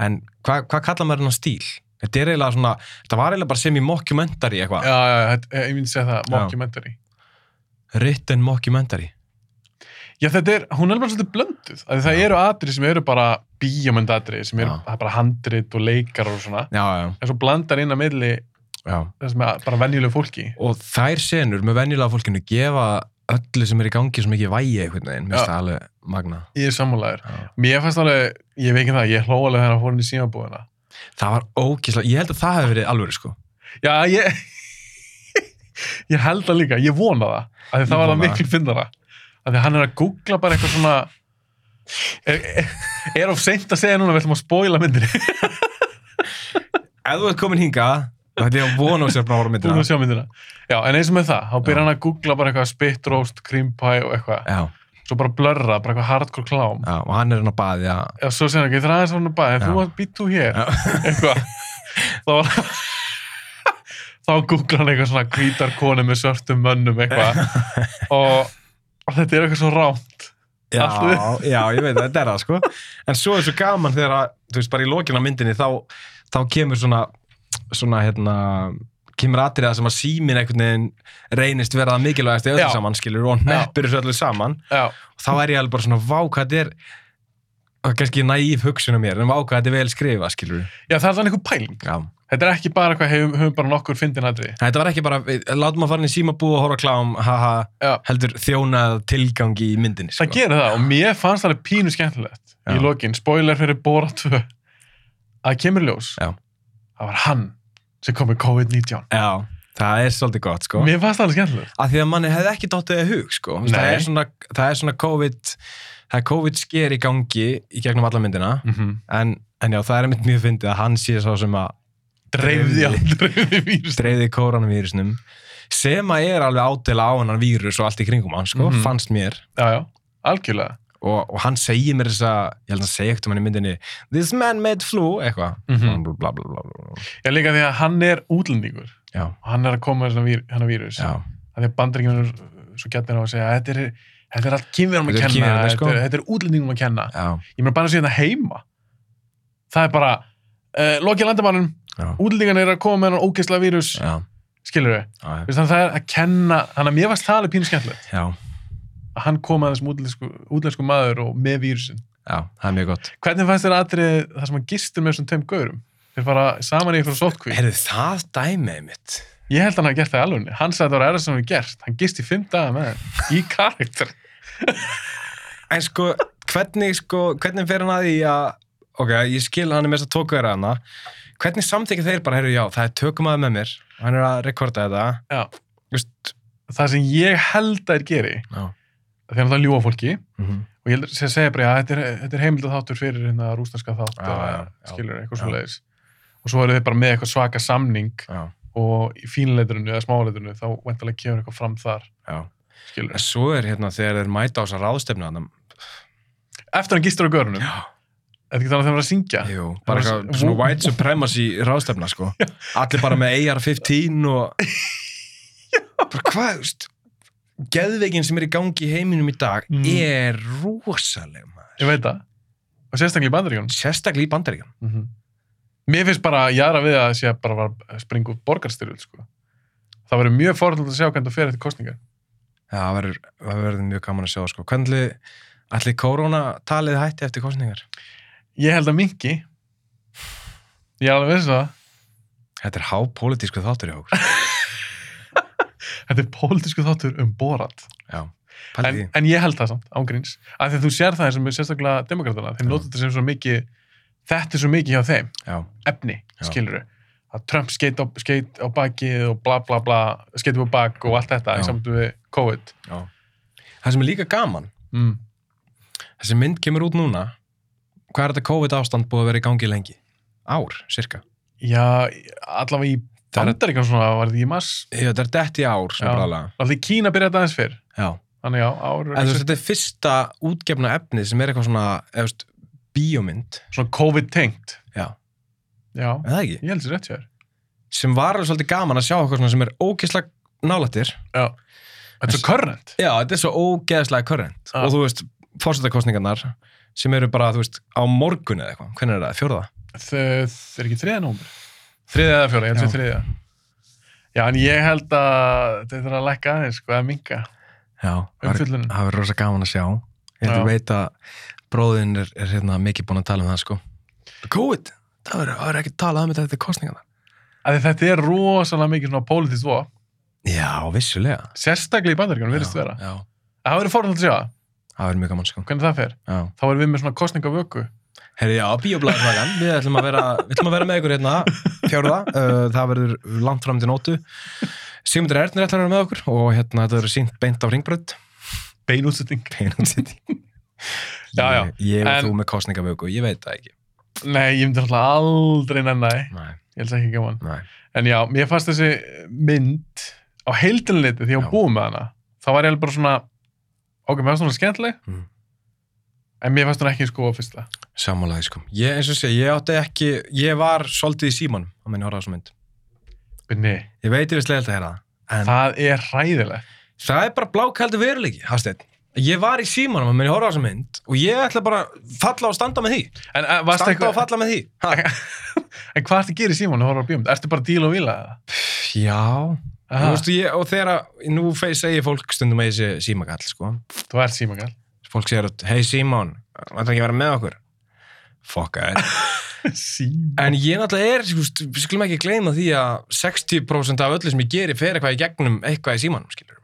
En hvað hva kallar maður hennar stíl? Þetta er eiginlega svona, þetta var eiginlega bara sem í mockumentary
já,
eitthvað.
já, já, þetta- ég myndi segja það,
Já.
mockumentary
Written mockumentary.
já, þetta er, hún er bara svolítið blönduð af því það
Já.
eru atrið sem eru bara bíómyndatrið sem eru
Já.
það er bara handrit og leikar og svona
Já, já,
en svo blandar inn á milli
já.
það sem er bara venjulegu fólki
Og þær senur með venjulega fólkinu gefa öllu sem er í gangi svo mikið vægi einhvern veginn. Mér finnst
Já.
það alveg magna.
í sammálaður
Já.
mér fannst alveg, ég veit ekki það, ég hló alveg þegar hann fór inn í símabúðina
Það var ókíslega, ég held að það hefði verið alvöru sko.
já, ég ég held það líka, ég vona það af því
Ég
það var
vona
það
það.
miklu fyndara af því hann er að googla bara eitthvað svona er, er, er of seint að segja núna við ætlum að spoila myndir
Ef þú ert komin hingað, þá ætti ég að vona og sér bara að voru
búin að
myndina.
sjá myndina já, en eins og með það, þá
Já.
byrja hann að googla bara eitthvað spit roast, cream pie og eitthvað
Já,
svo bara blörra, bara eitthvað hardcore klám
já, og hann er hann að baði að...
já, svo segir hann ekki, það er aðeins hann að bæða
Já.
þú að býtt þú hér,
Já.
eitthvað þá var þá googla hann eitthvað svona hvítar konu með svörtum mönnum eitthvað og, og þetta er eitthvað svo rámt
Já,
Allt
já, ég veit að þetta er það sko En svo er svo gaman þegar að þú veist, bara í lokin á myndinni þá, þá kemur svona, svona hérna, kemur atriða sem að símin einhvern veginn reynist vera það mikilvægast í öllu
Já.
saman skilur og neppur þessu öllu saman
já,
og þá er ég alveg bara svona vá hvað þetta er það er kannski naív hugsun á mér en vá hvað þetta er vel skrifa skilur
já, það er þannig eitthvað pæling
Já.
þetta er ekki bara hvað hefum, höfum bara nokkur fyndin aðrið
Þetta var ekki bara, við- látum að fara inn í símabú og horfa á klám, haha,
Já.
heldur þjónað tilgangi í myndinni
það gerir það og mér fannst það alveg pínu skemmtilegt
Sko. Já.
í lokin, spoiler fyrir Bora 2 að kemur ljós
Já.
það var hann sem kom með COVID-19
Já, það er svolítið gott sko
mér fannst það alveg skemmtilegt
að því að manni hefði ekki dottið að hug sko. Þú veist, það,
Nei.
er svona, það er svona COVID það er COVID sker í gangi í gegnum alla myndina
mm -hmm.
en, en já, það er einmitt mjög fyndið að hann sé sá sem að
dreifði aldrei vírus
streyði koronavírusnum sem að er alveg ádela á hennan vírus og allt í kringum hann sko,
Mhm.
fannst mér
já, já, algjörlega
og, og hann segir mér þess að ég held að hann segja ekkert um hann í myndinni this man made flu, eitthvað
Mhm.
bla, bla, bla, bla, bla.
Já, líka því að hann er útlendingur
Já,
og hann er að koma með vír, hann vírus.
já,
Af Því að bandaríkjum er svo gætnir á að segja að þetta er, þetta er allt kynverðum að
Þetta er
kenna,
Kínverjum, sko.
þetta er, þetta er útlendingum um að kenna.
já,
Ég meina bara að segja þetta heima. Það er bara, uh, lokið landamannum,
já,
útlendingan er að koma með hann ógeðslega vírus,
já,
skilur við.
já, já,
Þannig að það er að kenna, þannig að mér varst það alveg pínu skemmtilegt
já,
að hann kom að þessum útlensku, útlensku maður og með vírusin.
já, það er mjög gott.
Hvernig fannst þér atrið það sem hann gistur með þessum tveim gaurum? Þeir fara saman í eitthvað sótkví.
Herðu, það dæmið mitt.
Ég held að hann hafi gert það í alveg. Hann sagði að það var erða sem hann gert. Hann gist í fimm daga með hann. Í karakter.
En sko, hvernig, sko, hvernig fer hann að því að, ok, ég skil hann er mest að tóka þér að hana, hvernig samþykja þeir bara, herru, já, það er tökum aðeins með mér, hann er að rekorda þetta.
Já.
Just,
Það sem ég held að þeir geri,
já.
þegar það ljúa fólki,
Mm -hmm.
og ég held að segja bara, já, þetta er, þetta er heimild þáttur fyrir hérna rústanska þátt,
Já,
eða
já, já.
skilur eitthvað
Já.
svo leiðis. Og svo eru þeir bara með eitthvað svaka samning
já,
og í fínleiturinu eða smáleiturinu, þá væntalega kemur eitthvað fram þar,
já. En
skilur.
svo er hérna, þegar þeir mæta á þessa ráðstefnu, þannig,
Eftir hann gistur á görunum,
já,
þetta getur þannig að þeim var að syngja.
jú, bara
Það var
eitthvað
s-
svona white supremacy ráðstefna, sko. Allir bara með AR-15 og, bara hvað, þú veist, geðveikin sem er í gangi í heiminum í dag
Mm.
er rosaleg, maður.
Ég veit það. Og sérstaklega í bandaríkjónum.
Sérstaklega í bandaríkan.
Mhm. Mér finnst bara jara við að sé að bara var að springa út borgarstyrjöld sko. Það verður mjög forðan að sjá hvernig það fer eftir kostningar.
Já, það verður- það verður mjög gaman að sjá sko. Hvernig ætli koronatalið hætti eftir kostningar?
Ég held að minki Ég er alveg veist það
Þetta er hápólitísku þáttur í okkur.
Þetta er pólitísku þáttur um borat
Já,
en,
pælið því.
en ég held það samt, ángríns Af því að þú sér það eins og með sérstaklega demokratana þeim
Já.
notur þetta sem svo mikið þetta er svo mikið hjá þeim,
Já,
efni,
Já.
skilur að Trump skeit á, skeit á bakið og bla bla bla, skeit upp á bak og allt þetta
Já.
í samt við COVID
já. Það sem er líka gaman,
mm.
þessi mynd kemur út núna. Hvað er þetta COVID ástand búið að vera í gangi lengi? Ár, cirka.
Já, allavega í
Það er-
Bandaríkan svona, var þetta í mass
Já, þetta er detti ár, svona
Já.
bráðlega.
Alltaf í Kína byrjaði þetta aðeins fyrr.
Já.
Þannig já, ára,
En þú veist, þetta er fyrsta útgefna efni sem er eitthvað svona, eða þú veist, bíómynd.
svona COVID-tengt.
Já.
Já,
Er það ekki?
ég held sér rétt sér.
Sem var alveg svolítið gaman að sjá eitthvað svona sem er ógeðslega nálættir.
Já. Þetta er svo current.
Já, þetta er svo ógeðslega körrent
Já.
og þú veist, fórsetakostningarnar sem eru bara, þú veist, á morgun eða eitthvað hvernig er það, fjórða?
Þau, þau er ekki þriða nómur. Þriða eða fjóra, ég held sér
Já.
þriða. Já, en ég held að þetta er að lækka aðeins, sko, að minka
Já, það er-
umfyllunum.
það verður rosa gaman að sjá ég
Já.
held að veit að bróðin er, er hérna mikið búin að tala um það, sko COVID, það verður- það verður ekki að tala um þetta þetta er kostningarnar.
Af því Þetta er rosalega mikið svona politist vop,
Já, vissulega
sérstaklega í bandaríkjunum, verðist
Já,
vera.
Já,
Það verður fórhald að sjá það,
það verður mjög gaman, sko
hvernig það fer.
Já,
Þá erum við með svona kostningavöku.
herri, já, bíoblæðarfægan við ætlum að vera, við ætlum að vera með ykkur hérna fjórða, uh, það verður langt fram til nótu Sigmundur Ernir ætlar að vera með okkur og hérna þetta verður sínt beint á ringbröð
Beinútsetting.
Penalty
Já, já.
Ég, ég og
En-
þú með kostningavöku, ég veit það ekki
Nei, ég myndi alltaf aldrei nenni, því.
Nei,
ég held það ekki gaman.
nei,
En já, mér fannst þessi mynd á heildilinleiti því að
Já.
ég búið með hana. þá var ég alveg bara svona, ok, mér fannst hún skemmtileg,
Mm.
en mér fannst hún ekki sko á fyrsta.
sammálaði sko Ég eins og sé, ég átti ekki, ég var svolítið í símanum á minni horfa á þessu mynd
Nei,
Ég veit ég við slegilegt að heyra það En
það er ræðilegt.
það er bara blákaldi veruleiki, Hafsteinn Ég var í símanum á minni horfa á þessu mynd og ég ætla bara að falla og standa með því
En, eh, varstu
Standa
eitthvað-
og falla með því ha.
en hvað ertu að gera í símónu og horfa á bíómynd? Ertu bara að díla og vila eða?
Já
Aha,
Þú veistu, ég, og þegar að, nú fe- segir fólk stundum að ég sé símakall sko
Þú ert símakall.
Fólk segir að, hei Símon, vantar ekki að vera með okkur Fokka þér
Símakall.
En ég náttúrulega er, sko, st- við skulum ekki gleyma því að 60% af öllu sem ég geri fer eitthvað í gegnum eitthvað í símanum, skilur.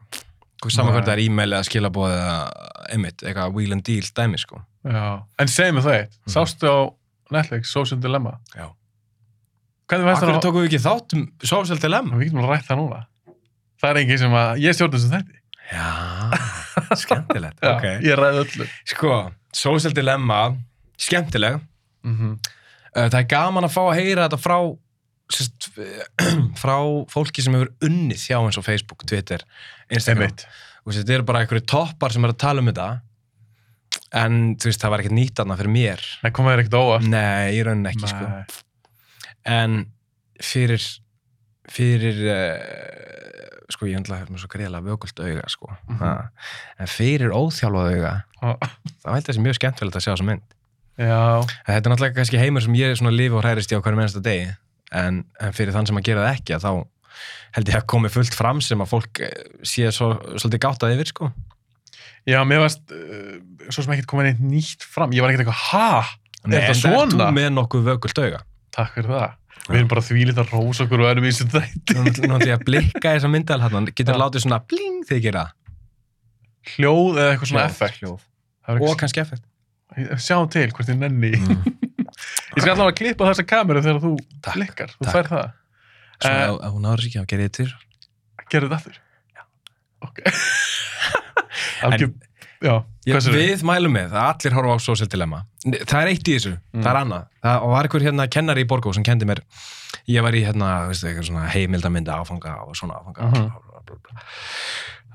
Saman
Nei.
hvernig það er e-mail eða skilaboð eða emitt, eitthvað wheel and deal dæmi, sko.
Já. En segjum við það eitt.
Mhm.
Sástu á Netflix, Social Dilemma?
Já.
Hvernig fannst
Akkur
það?
tókum við ekki þátt um Social Dilemma?
Við getum alveg rætt það núna. Það er engin sem að, ég stjórnum sem þetta.
Já, skemmtilegt, ok.
Ég ræði öllu.
Sko, Social Dilemma, skemmtileg.
Mm
Uh, Það er gaman að fá að heyra þetta frá, sérst, frá fólki sem hefur unnið hjá eins og Facebook, Twitter, Instagram.
Einmitt.
og þetta eru bara einhverju toppar sem er að tala um þetta en þú veist, það var ekkert nýtt aðna fyrir mér
Það kom þér ekkert óvart.
nei, í rauninni ekki sko.
Nei.
en fyrir fyrir uh, sko ég ætla að hef mér svo greiðlega vökult auga sko
Mhm.
ha. en fyrir óþjálfað auga
Ó,
þá held ég þessi mjög skemmtilegt að sjá þessa mynd
Já,
En þetta er náttúrulega kannski heimur sem ég svona lifi og hræðist í á hverju mennsta degi en, en fyrir þann sem að gera það ekki að þá held ég að komi fullt fram sem að fólk eh, sé svo, svolítið gáttað yfir sko
já, mér varst, uh, svo sem ekkert komið neitt nýtt fram. Ég var ekkert eitthvað, ha? Er
en
það
ert
svona?
þú með nokkuð vökult auga
Takk fyrir það. Við erum bara því lítið að rósa okkur og erum í þessu þætti.
Nú nú ætlum ég að blikka þessa myndal hann getur
Já.
látið svona bling þegar ég gera það
Hljóð eða eitthvað svona
Hljóð,
effekt.
hljóð.
Það var
og
ekki-
kannski effekt
Sjá til hvort þið nenni.
mm.
Ég skal allavega klippa þessa kameru þegar þú
Takk,
blikkar. Þú
takk.
fær það.
svona
Eh,
ef- ef hún áður sér ekki að gera ég til
Gerðu þetta aftur? Já. Ok. Algjör,
En-
já,
Ég,
hvað sér við?
við mælum með að allir horfa á social dilemma það er eitt í þessu,
Mm.
það er annað það, og var einhver hérna kennari í Borgó sem kendi mér ég var í hérna, veistu, eitthvað svona heimildamynda áfanga og svona áfanga
Mhm.
bla, bla, bla, bla.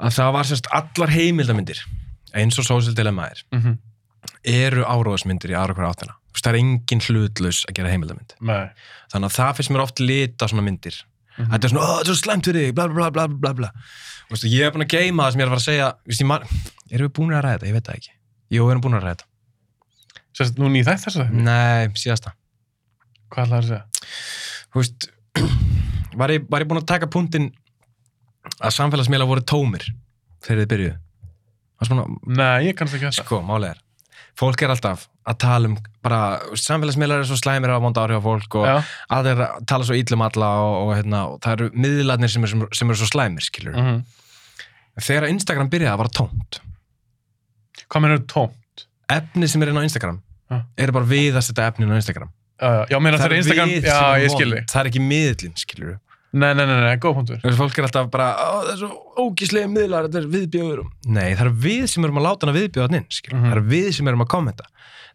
að það var sérst allar heimildamindir eins og social dilemma er
Mm -hmm.
eru áróðasmyndir í aðra hverja áttina Þú veist, það er engin hlutlaus að gera heimildamind
Nei.
þannig að það finnst mér oft lita svona myndir
Mhm.
þetta er svona, "Ó, þetta er svo slæmt fyrir þig, bla bla bla bla bla bla Þú veist, ég er búin að geima það sem ég er að fara að segja Vist, man, erum við búin að ræða þetta, ég veit það ekki jú, við erum búin að ræða þetta
Sérst, núna í þætt þessu
Mm.
þætti?
nei, síðasta
Hvað ætlaðu að segja?
Þú veist, var, ég, var ég búin að taka punktinn að samfélagsmiðla voru tómir þegar þið byrjuðu Varstu búin að-
Nei, ég kannast ekki þetta.
sko, málið er fólk er alltaf að tala um bara, samfélagsmiðlar er svo slæmir á vonda áhrif á fólk og
Já.
aðeir tala svo ítlum alla og, og, hérna, og það eru miðlarnir sem, er, sem, sem eru svo slæmir skilur
Mm
þegar Instagram byrjaði að vara tómt
Hvað meður tómt?
efni sem er inn á Instagram
Já.
eru bara við að setja efnin á Instagram
Uh, já, meina það er Instagram,
við sem
já,
erum
ég
vond.
skil þig.
það er ekki miðlinn skilur
Nei, nei, nei, nei, góð punktur.
Þessi fólk er alltaf bara, "Ó, það er svo ógíslega miðlar, þetta er viðbjöður. Nei, það er við sem erum að láta hana viðbjóða hann inn, skilur.
Mhm.
Það er við sem erum að kommenta.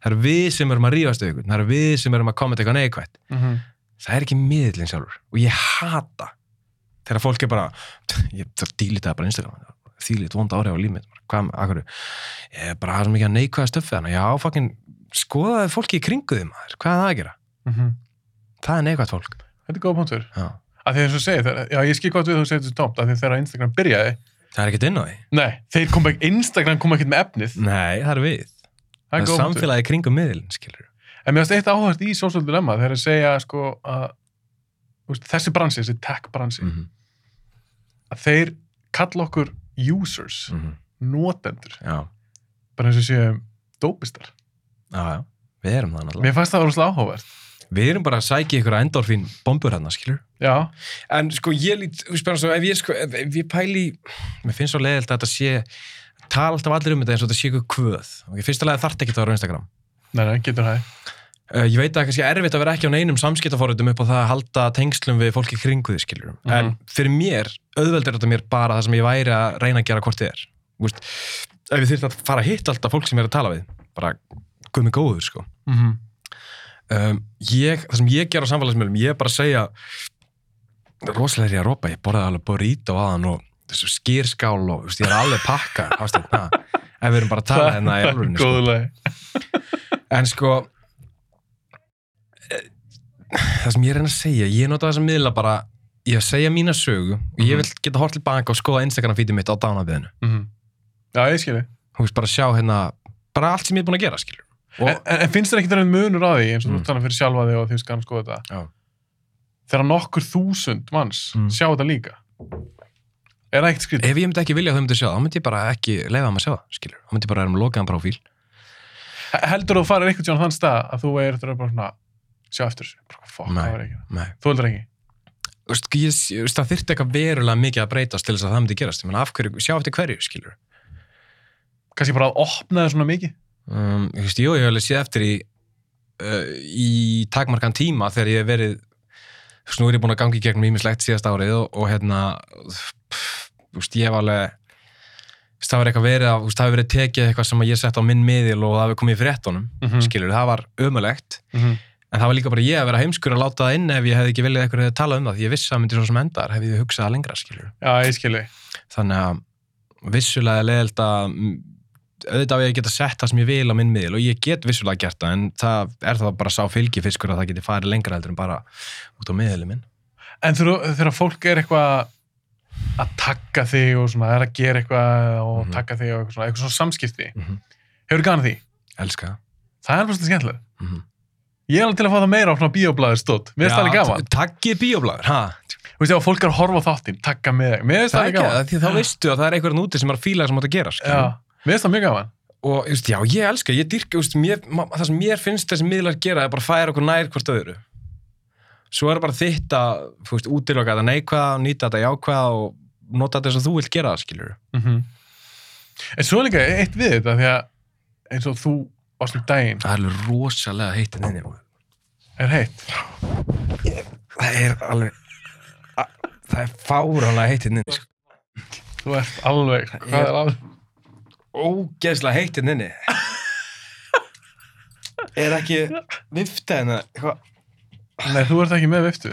Það er við sem erum að rífast auðvitað. Það er við sem erum að kommenta eitthvað neikvætt.
Mm -hmm.
Það er ekki miðlinn sjálfur. Og ég hata þegar fólk er bara, ég dýlita það bara Instagram. Þýlit vonda áhrif á líf mitt. Bara, Hvað, akkur, ég er bara það sem ekki að neikvæða stöfið hana. Já, fucking, skoðaði fólki í kringu þið maður. Hvað er það að gera? Það er neikvætt fólk.
Mhm. Þetta er góð punktur.
Já.
Að því eins og þú segir, þegar- já, ég skil hvað við þú segir þetta er tómt, að því þegar Instagram byrjaði,
Það er ekkert inn á því.
nei, þeir kom ekki, Instagram kom ekkert með efnið.
Nei, það er við.
Það er
Það er
góð punktur.
samfélagið í kringum miðlinn, skilur.
En mér finnst eitt áhört í Social Dilemma, þegar þeir segja, sko, að þú veist, þessi bransi, þessi tech bransi,
-hmm.
að þeir kalla okkur users,
Mm.
notendur,
mhm. Já,
bara eins og séum dópistar.
já, já, við erum það náttúrulega.
Mér fannst það orðslega áhugavert.
Við erum bara að sækja ykkur endorfín bombur hérna, skilur.
Já,
En sko, ég lít, þú spyrir svo, ef ég, sko, ef, ef ég pæli, mér finnst svo leiðilt að þetta sé, tala alltaf allir um þetta eins og þetta sé ykkur kvöð. Okay, fyrsta lega þarf ekki að vera á Instagram.
nei, nei, getur það.
Uh, ég veit að það er kannski erfitt að vera ekki á neinum samskiptaforritum upp á það að halda tengslum við fólki kringu því, skilur. En
Mhm.
fyrir mér, auðveldur þetta mér bara það sem ég væri að reyna að gera hvort þið er. Þú veist, ef ég þyrfti að fara að hitta alltaf fólk sem ég er að tala við, bara, guð mig góður, sko.
Mm
um, ég, það sem ég ger á samfélagsmiðlum ég er bara að segja rosalega er ég að rópa, ég borðaði alveg burrito aðan og þessu skýrskál og þú veist, ég er alveg pakka ástætt, na, ef við erum bara að tala hérna í alvörinu sko.
Góðulega.
en sko eh, það sem ég er að reyna að segja ég nota þessa miðla bara ég að segja mína sögu og ég
Mhm.
vil geta hort til banka og skoða Instagram feedið mitt á dánabiðinu
Mhm. Já, ég skilji.
þú veist bara sjá hérna bara allt sem ég er búin að gera skilur og
En, en en finnst þér ekkert einhvern munur á því, eins og
Mm.
þú talar fyrir sjálfa þig og því skan skoða þetta?
Já.
Þegar nokkur þúsund manns
Mm.
sjá þetta líka. Er það ekkert skrítið?
ef ég myndi ekki vilja að þau myndi sjá það þá myndi ég bara ekki leifa um að sjá það skilur þá myndi ég bara erum lokaðan profíl
He- Heldur þú að fara einhvern tíðan þann stað að þú er eftir að bara svona sjá eftir þessu? Bara, Fuck,
Nei.
það var ekki. það.
Nei.
Þú heldur ekki?
Þú veist, ég, ég veist, það þyrfti eitthvað verulega mikið að breytast til þess að það myndi gerast. Ég meina, af hverju, sjá eftir hverju, skilur.
Kanski bara að opna það svona mikið?
Um, ég veist, jú, ég hef alveg séð eftir í, uh, í takmarkan tíma þegar ég hef verið, þú veist, nú er ég búin að gangi gegnum ímislegt síðast árið og, og hérna, pff, þú veist, ég hef alveg, þú veist, það var eitthvað verið, að, þú veist, það hefur verið tekið eitthvað sem ég sett á minn miðil og það hefur komið í fréttunum,
Mm -hmm.
skilur, það var ömulegt.
Mhm.
En það var líka bara ég að vera heimskur að láta það inn ef ég hefði ekki viljað eitthvað að tala um það, því ég vissi að það myndi svo sem endar, hefði ég hugsað það lengra, skilur.
Já, ég skilji.
þannig að vissulega er leiðilt að mm, auðvitað á ég að geta sett það sem ég vil á minn miðil og ég get vissulega gert það en það er það bara sá fylgifiskur að það geti farið lengra heldur en bara út á miðilin minn.
En þegar þegar fólk er eitthvað að taka þig og svona, er að gera eitthvað og
Mhm.
taka þig og eitthvað svona, eitthvað svona samskipti,
Mm -hmm.
hefur gana því?
Elska það.
Það er bara svolítið skemmtilega.
Mm
Ég er alveg til að fá það meira á svona bíoblæður stótt. Mhm. Mér finnst það alveg gaman.
Takkið bíoblagur, ha?
Þú veist, ef fólk er að horfa á þáttinn, takka með þig. Mér finnst það
Það er ekki
alveg gaman.
það, því þá veistu að það er einhverjum úti sem er að fíla það sem átt að gera, skilur.
Já, mér finnst það mjög gaman.
og just, já, ég elska, ég dyrka just, mér, ma- það sem mér finnst þessi miðlar gera er bara að færa okkur nær hvort öðru svo er bara þitt að þú veist, útiloka þetta neikvæða og nýta þetta jákvæða og nota þetta þess að þú vilt gera það, skilur
Mm En svo er líka eitt við þetta, því að eins og þú varst um daginn,
það er alveg rosalega heitt en inni
er heitt.
það er alveg a- það er fárálega heitt en inni sko.
Þú ert alveg, hvað
Ég-
er alveg?
ógeðslega heitt en inni er ekki hérna, vifta en það
Nei, þú ert ekki með viftu.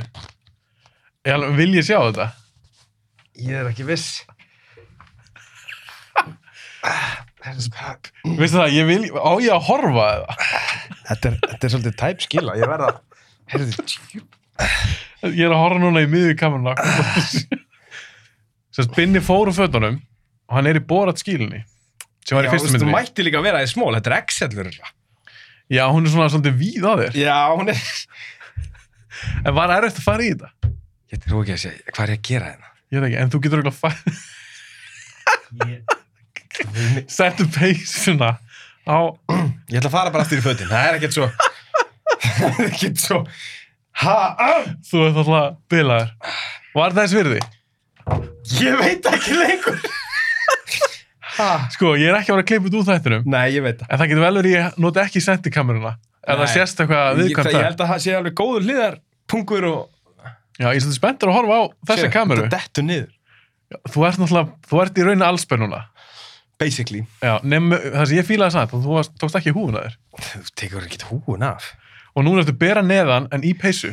Ég alveg, vil ég sjá þetta?
ég er ekki viss Ah, það er spöp
Veistu það, ég vil, á ég að horfa eða?
Þetta er, þetta er svolítið tæp skila, ég verða Herðu, tjú-
Ég er að horfa núna í miður kameruna. Sess, Binni fór úr fötunum og hann er í borat skílinni, sem var í
Já,
fyrstu
þú
myndinni.
mætti líka vera í smól, þetta er Excel-ur
Já, hún er svona svolítið víð á þér.
Já, hún er
En var erfitt að fara í þetta?
Ég trú ekki að segja, hvað er ég að gera hérna?
Ég veit ekki, en þú getur auðvitað að fara... Settu peysuna á...
Ég ætla að fara bara aftur í fötin, það er ekkert svo Það er ekkert svo Ha, ah,
Þú ert alltaf bilaður. Var þess virði?
ég veit ekki lengur Ha
Sko, ég er ekki að vera að klippa út úr þættinum.
Nei, ég veit það
En það getur vel verið að ég noti ekki sentikameruna. Ef það
Nei.
sést eitthvað
ég,
viðkvæmt
ég
þar.
held að það sé alveg góður hliðar pungur og
Já, ég er svolítið spenntur að horfa á þessa
Sér,
kameru.
Þetta dettur niður,
Þú ert náttúrulega, þú ert í rauninu allspennuna.
basically
Já, nefn, það sem ég fílaði samt, þú varst- tókst ekki húfuna þér.
Þú tekur ekki húun af
Og núna ertu bera neðan en í peysu.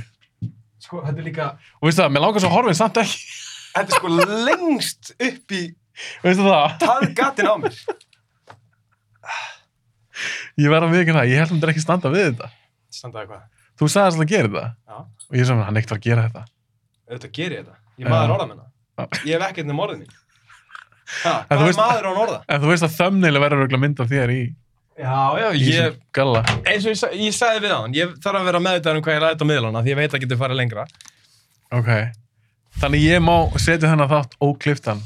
Sko, þetta er líka
Og veistu það, mér langar svo að horfa en samt ekki.
Þetta er sko lengst upp í
Veistu það?
taðgatinn á mér
Ég verða við ekki það, ég held að þetta ekki standa við þetta.
Standaði hvað?
Þú sagðist að gera þetta.
Já,
Og ég sagði, hann ekkert var að gera þetta.
auðvitað gerir ég þetta. Ég
Já.
er maður orða minna.
Já.
Ég hef ekkert nefn orðin mín. Ha,
En
hvað
þú
er
veist-
maður án orða?
En þú veist að þömmneil verður örugglega mynd af þér í,
Já, já,
í
ég,
þessum galla.
eins og ég, sa- ég sagði við hann, ég þarf að vera meðvitað um hvað ég lagði þetta á miðlana því ég veit að getur farið lengra.
Ok. Þannig ég má setja þennan þátt ókliftan.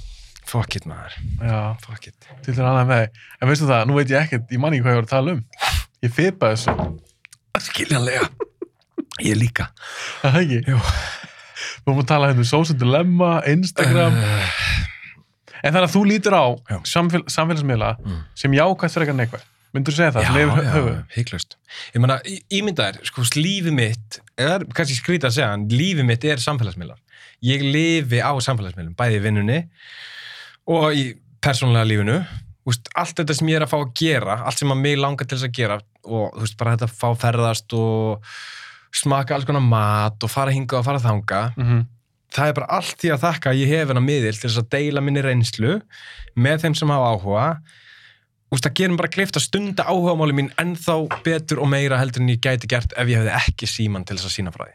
Fuck it maður,
Já,
fuck it.
til þér annað með þig. En veistu það, nú veit ég ekkert, ég man ekki hvað ég voru að tala um. Ég fipa þessu.
Skiljanlega. Ég líka.
Er Það ekki?
Jú.
Við vorum að tala hérna um Social Dilemma, Instagram.
Uh,
En þannig að þú lítur á
Já.
samfél, samfélagsmiðla
Mm.
sem jákvæmt frekar en eitthvað. Myndur þú segja það?
já,
Svona yfir hö- höfuð?
já, hygglust. Ég meina, í- ímyndaðir, sko, lífið mitt, er, kannski skrýta að segja, en lífið mitt er samfélagsmiðlar. Ég lifi á samfélagsmiðlum, bæði í vinnunni og í persónulega lífinu. Úst, allt þetta sem ég er að fá að gera, allt sem að mig langar til þess að gera og þú veist, bara þetta að fá að ferðast og smaka alls konar mat og fara hingað og fara þanga
Mhm.
það er bara allt því að þakka að ég hef hennar miðil til þess að deila minni reynslu með þeim sem hafa áhuga Úst, það gerum bara klift að stunda áhugamáli mín ennþá betur og meira heldur en ég gæti gert ef ég hefði ekki síman til þess að sína frá því.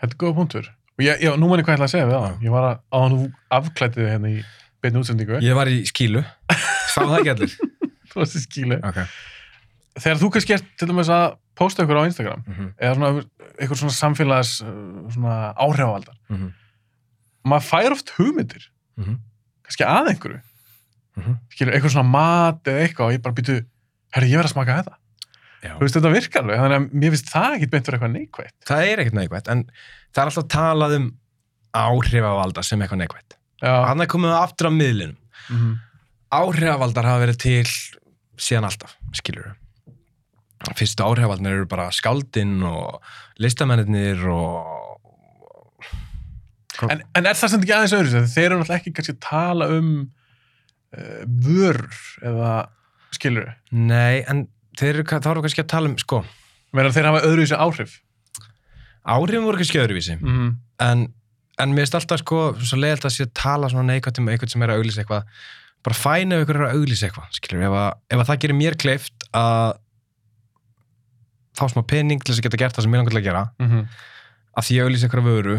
Þetta er góða punktur. Og ég, já, nú manni hvað ég ætla að segja við það. Ég var að, á hann afklættið þig hérna í beinni útsendingu.
Ég var í skílu, sá það ekki allir.
Þú varst í skílu.
Okay.
Þegar þú kannski ert til dæmis að posta ykkur á Instagram
Mm -hmm.
eða svona eitthvað svona samfélags uh, svona áhrifavaldar.
Mm
Maður fær oft hugmyndir,
-hmm.
kannski að einhverju.
mhm.
Skilur, eitthvað svona mat eða eitthvað og ég bara býtu, herri, ég verð að smaka þetta.
Já.
Þú veist, þetta virkar alveg. Þannig að mér finnst það ekkit beint fyrir eitthvað neikvætt.
Það er ekkert neikvægt, en það er alltaf talað um áhrifavalda sem eitthvað neikvægt.
Já.
Þannig komum við aftur á miðlinum.
Mhm.
áhrifavaldar hafa verið til síðan alltaf, skilur við fyrstu áhrifavaldar eru bara skáldinn og listamennir og
En, en er það sem ekki aðeins öðru sér? Þeir eru náttúrulega ekki kannski að tala um uh, vörur eða skilur.
nei, en þeir eru, þá eru kannski að tala um sko,
Meira þeir hafa öðru sér áhrif.
áhrifin voru kannski öðruvísi
Mm -hmm.
en, en mér finnst alltaf sko, svo leiðilt að sé að tala svona neikvæmt um eitthvað sem er að auglýsa eitthvað bara fæn ef ykkur er að auglýsa eitthvað skilur, ef, að, ef að það gerir mér kleift að fá smá pening til þess að geta gert það sem mér langar til að gera
mm -hmm.
að því að auglýsa eitthvað vöru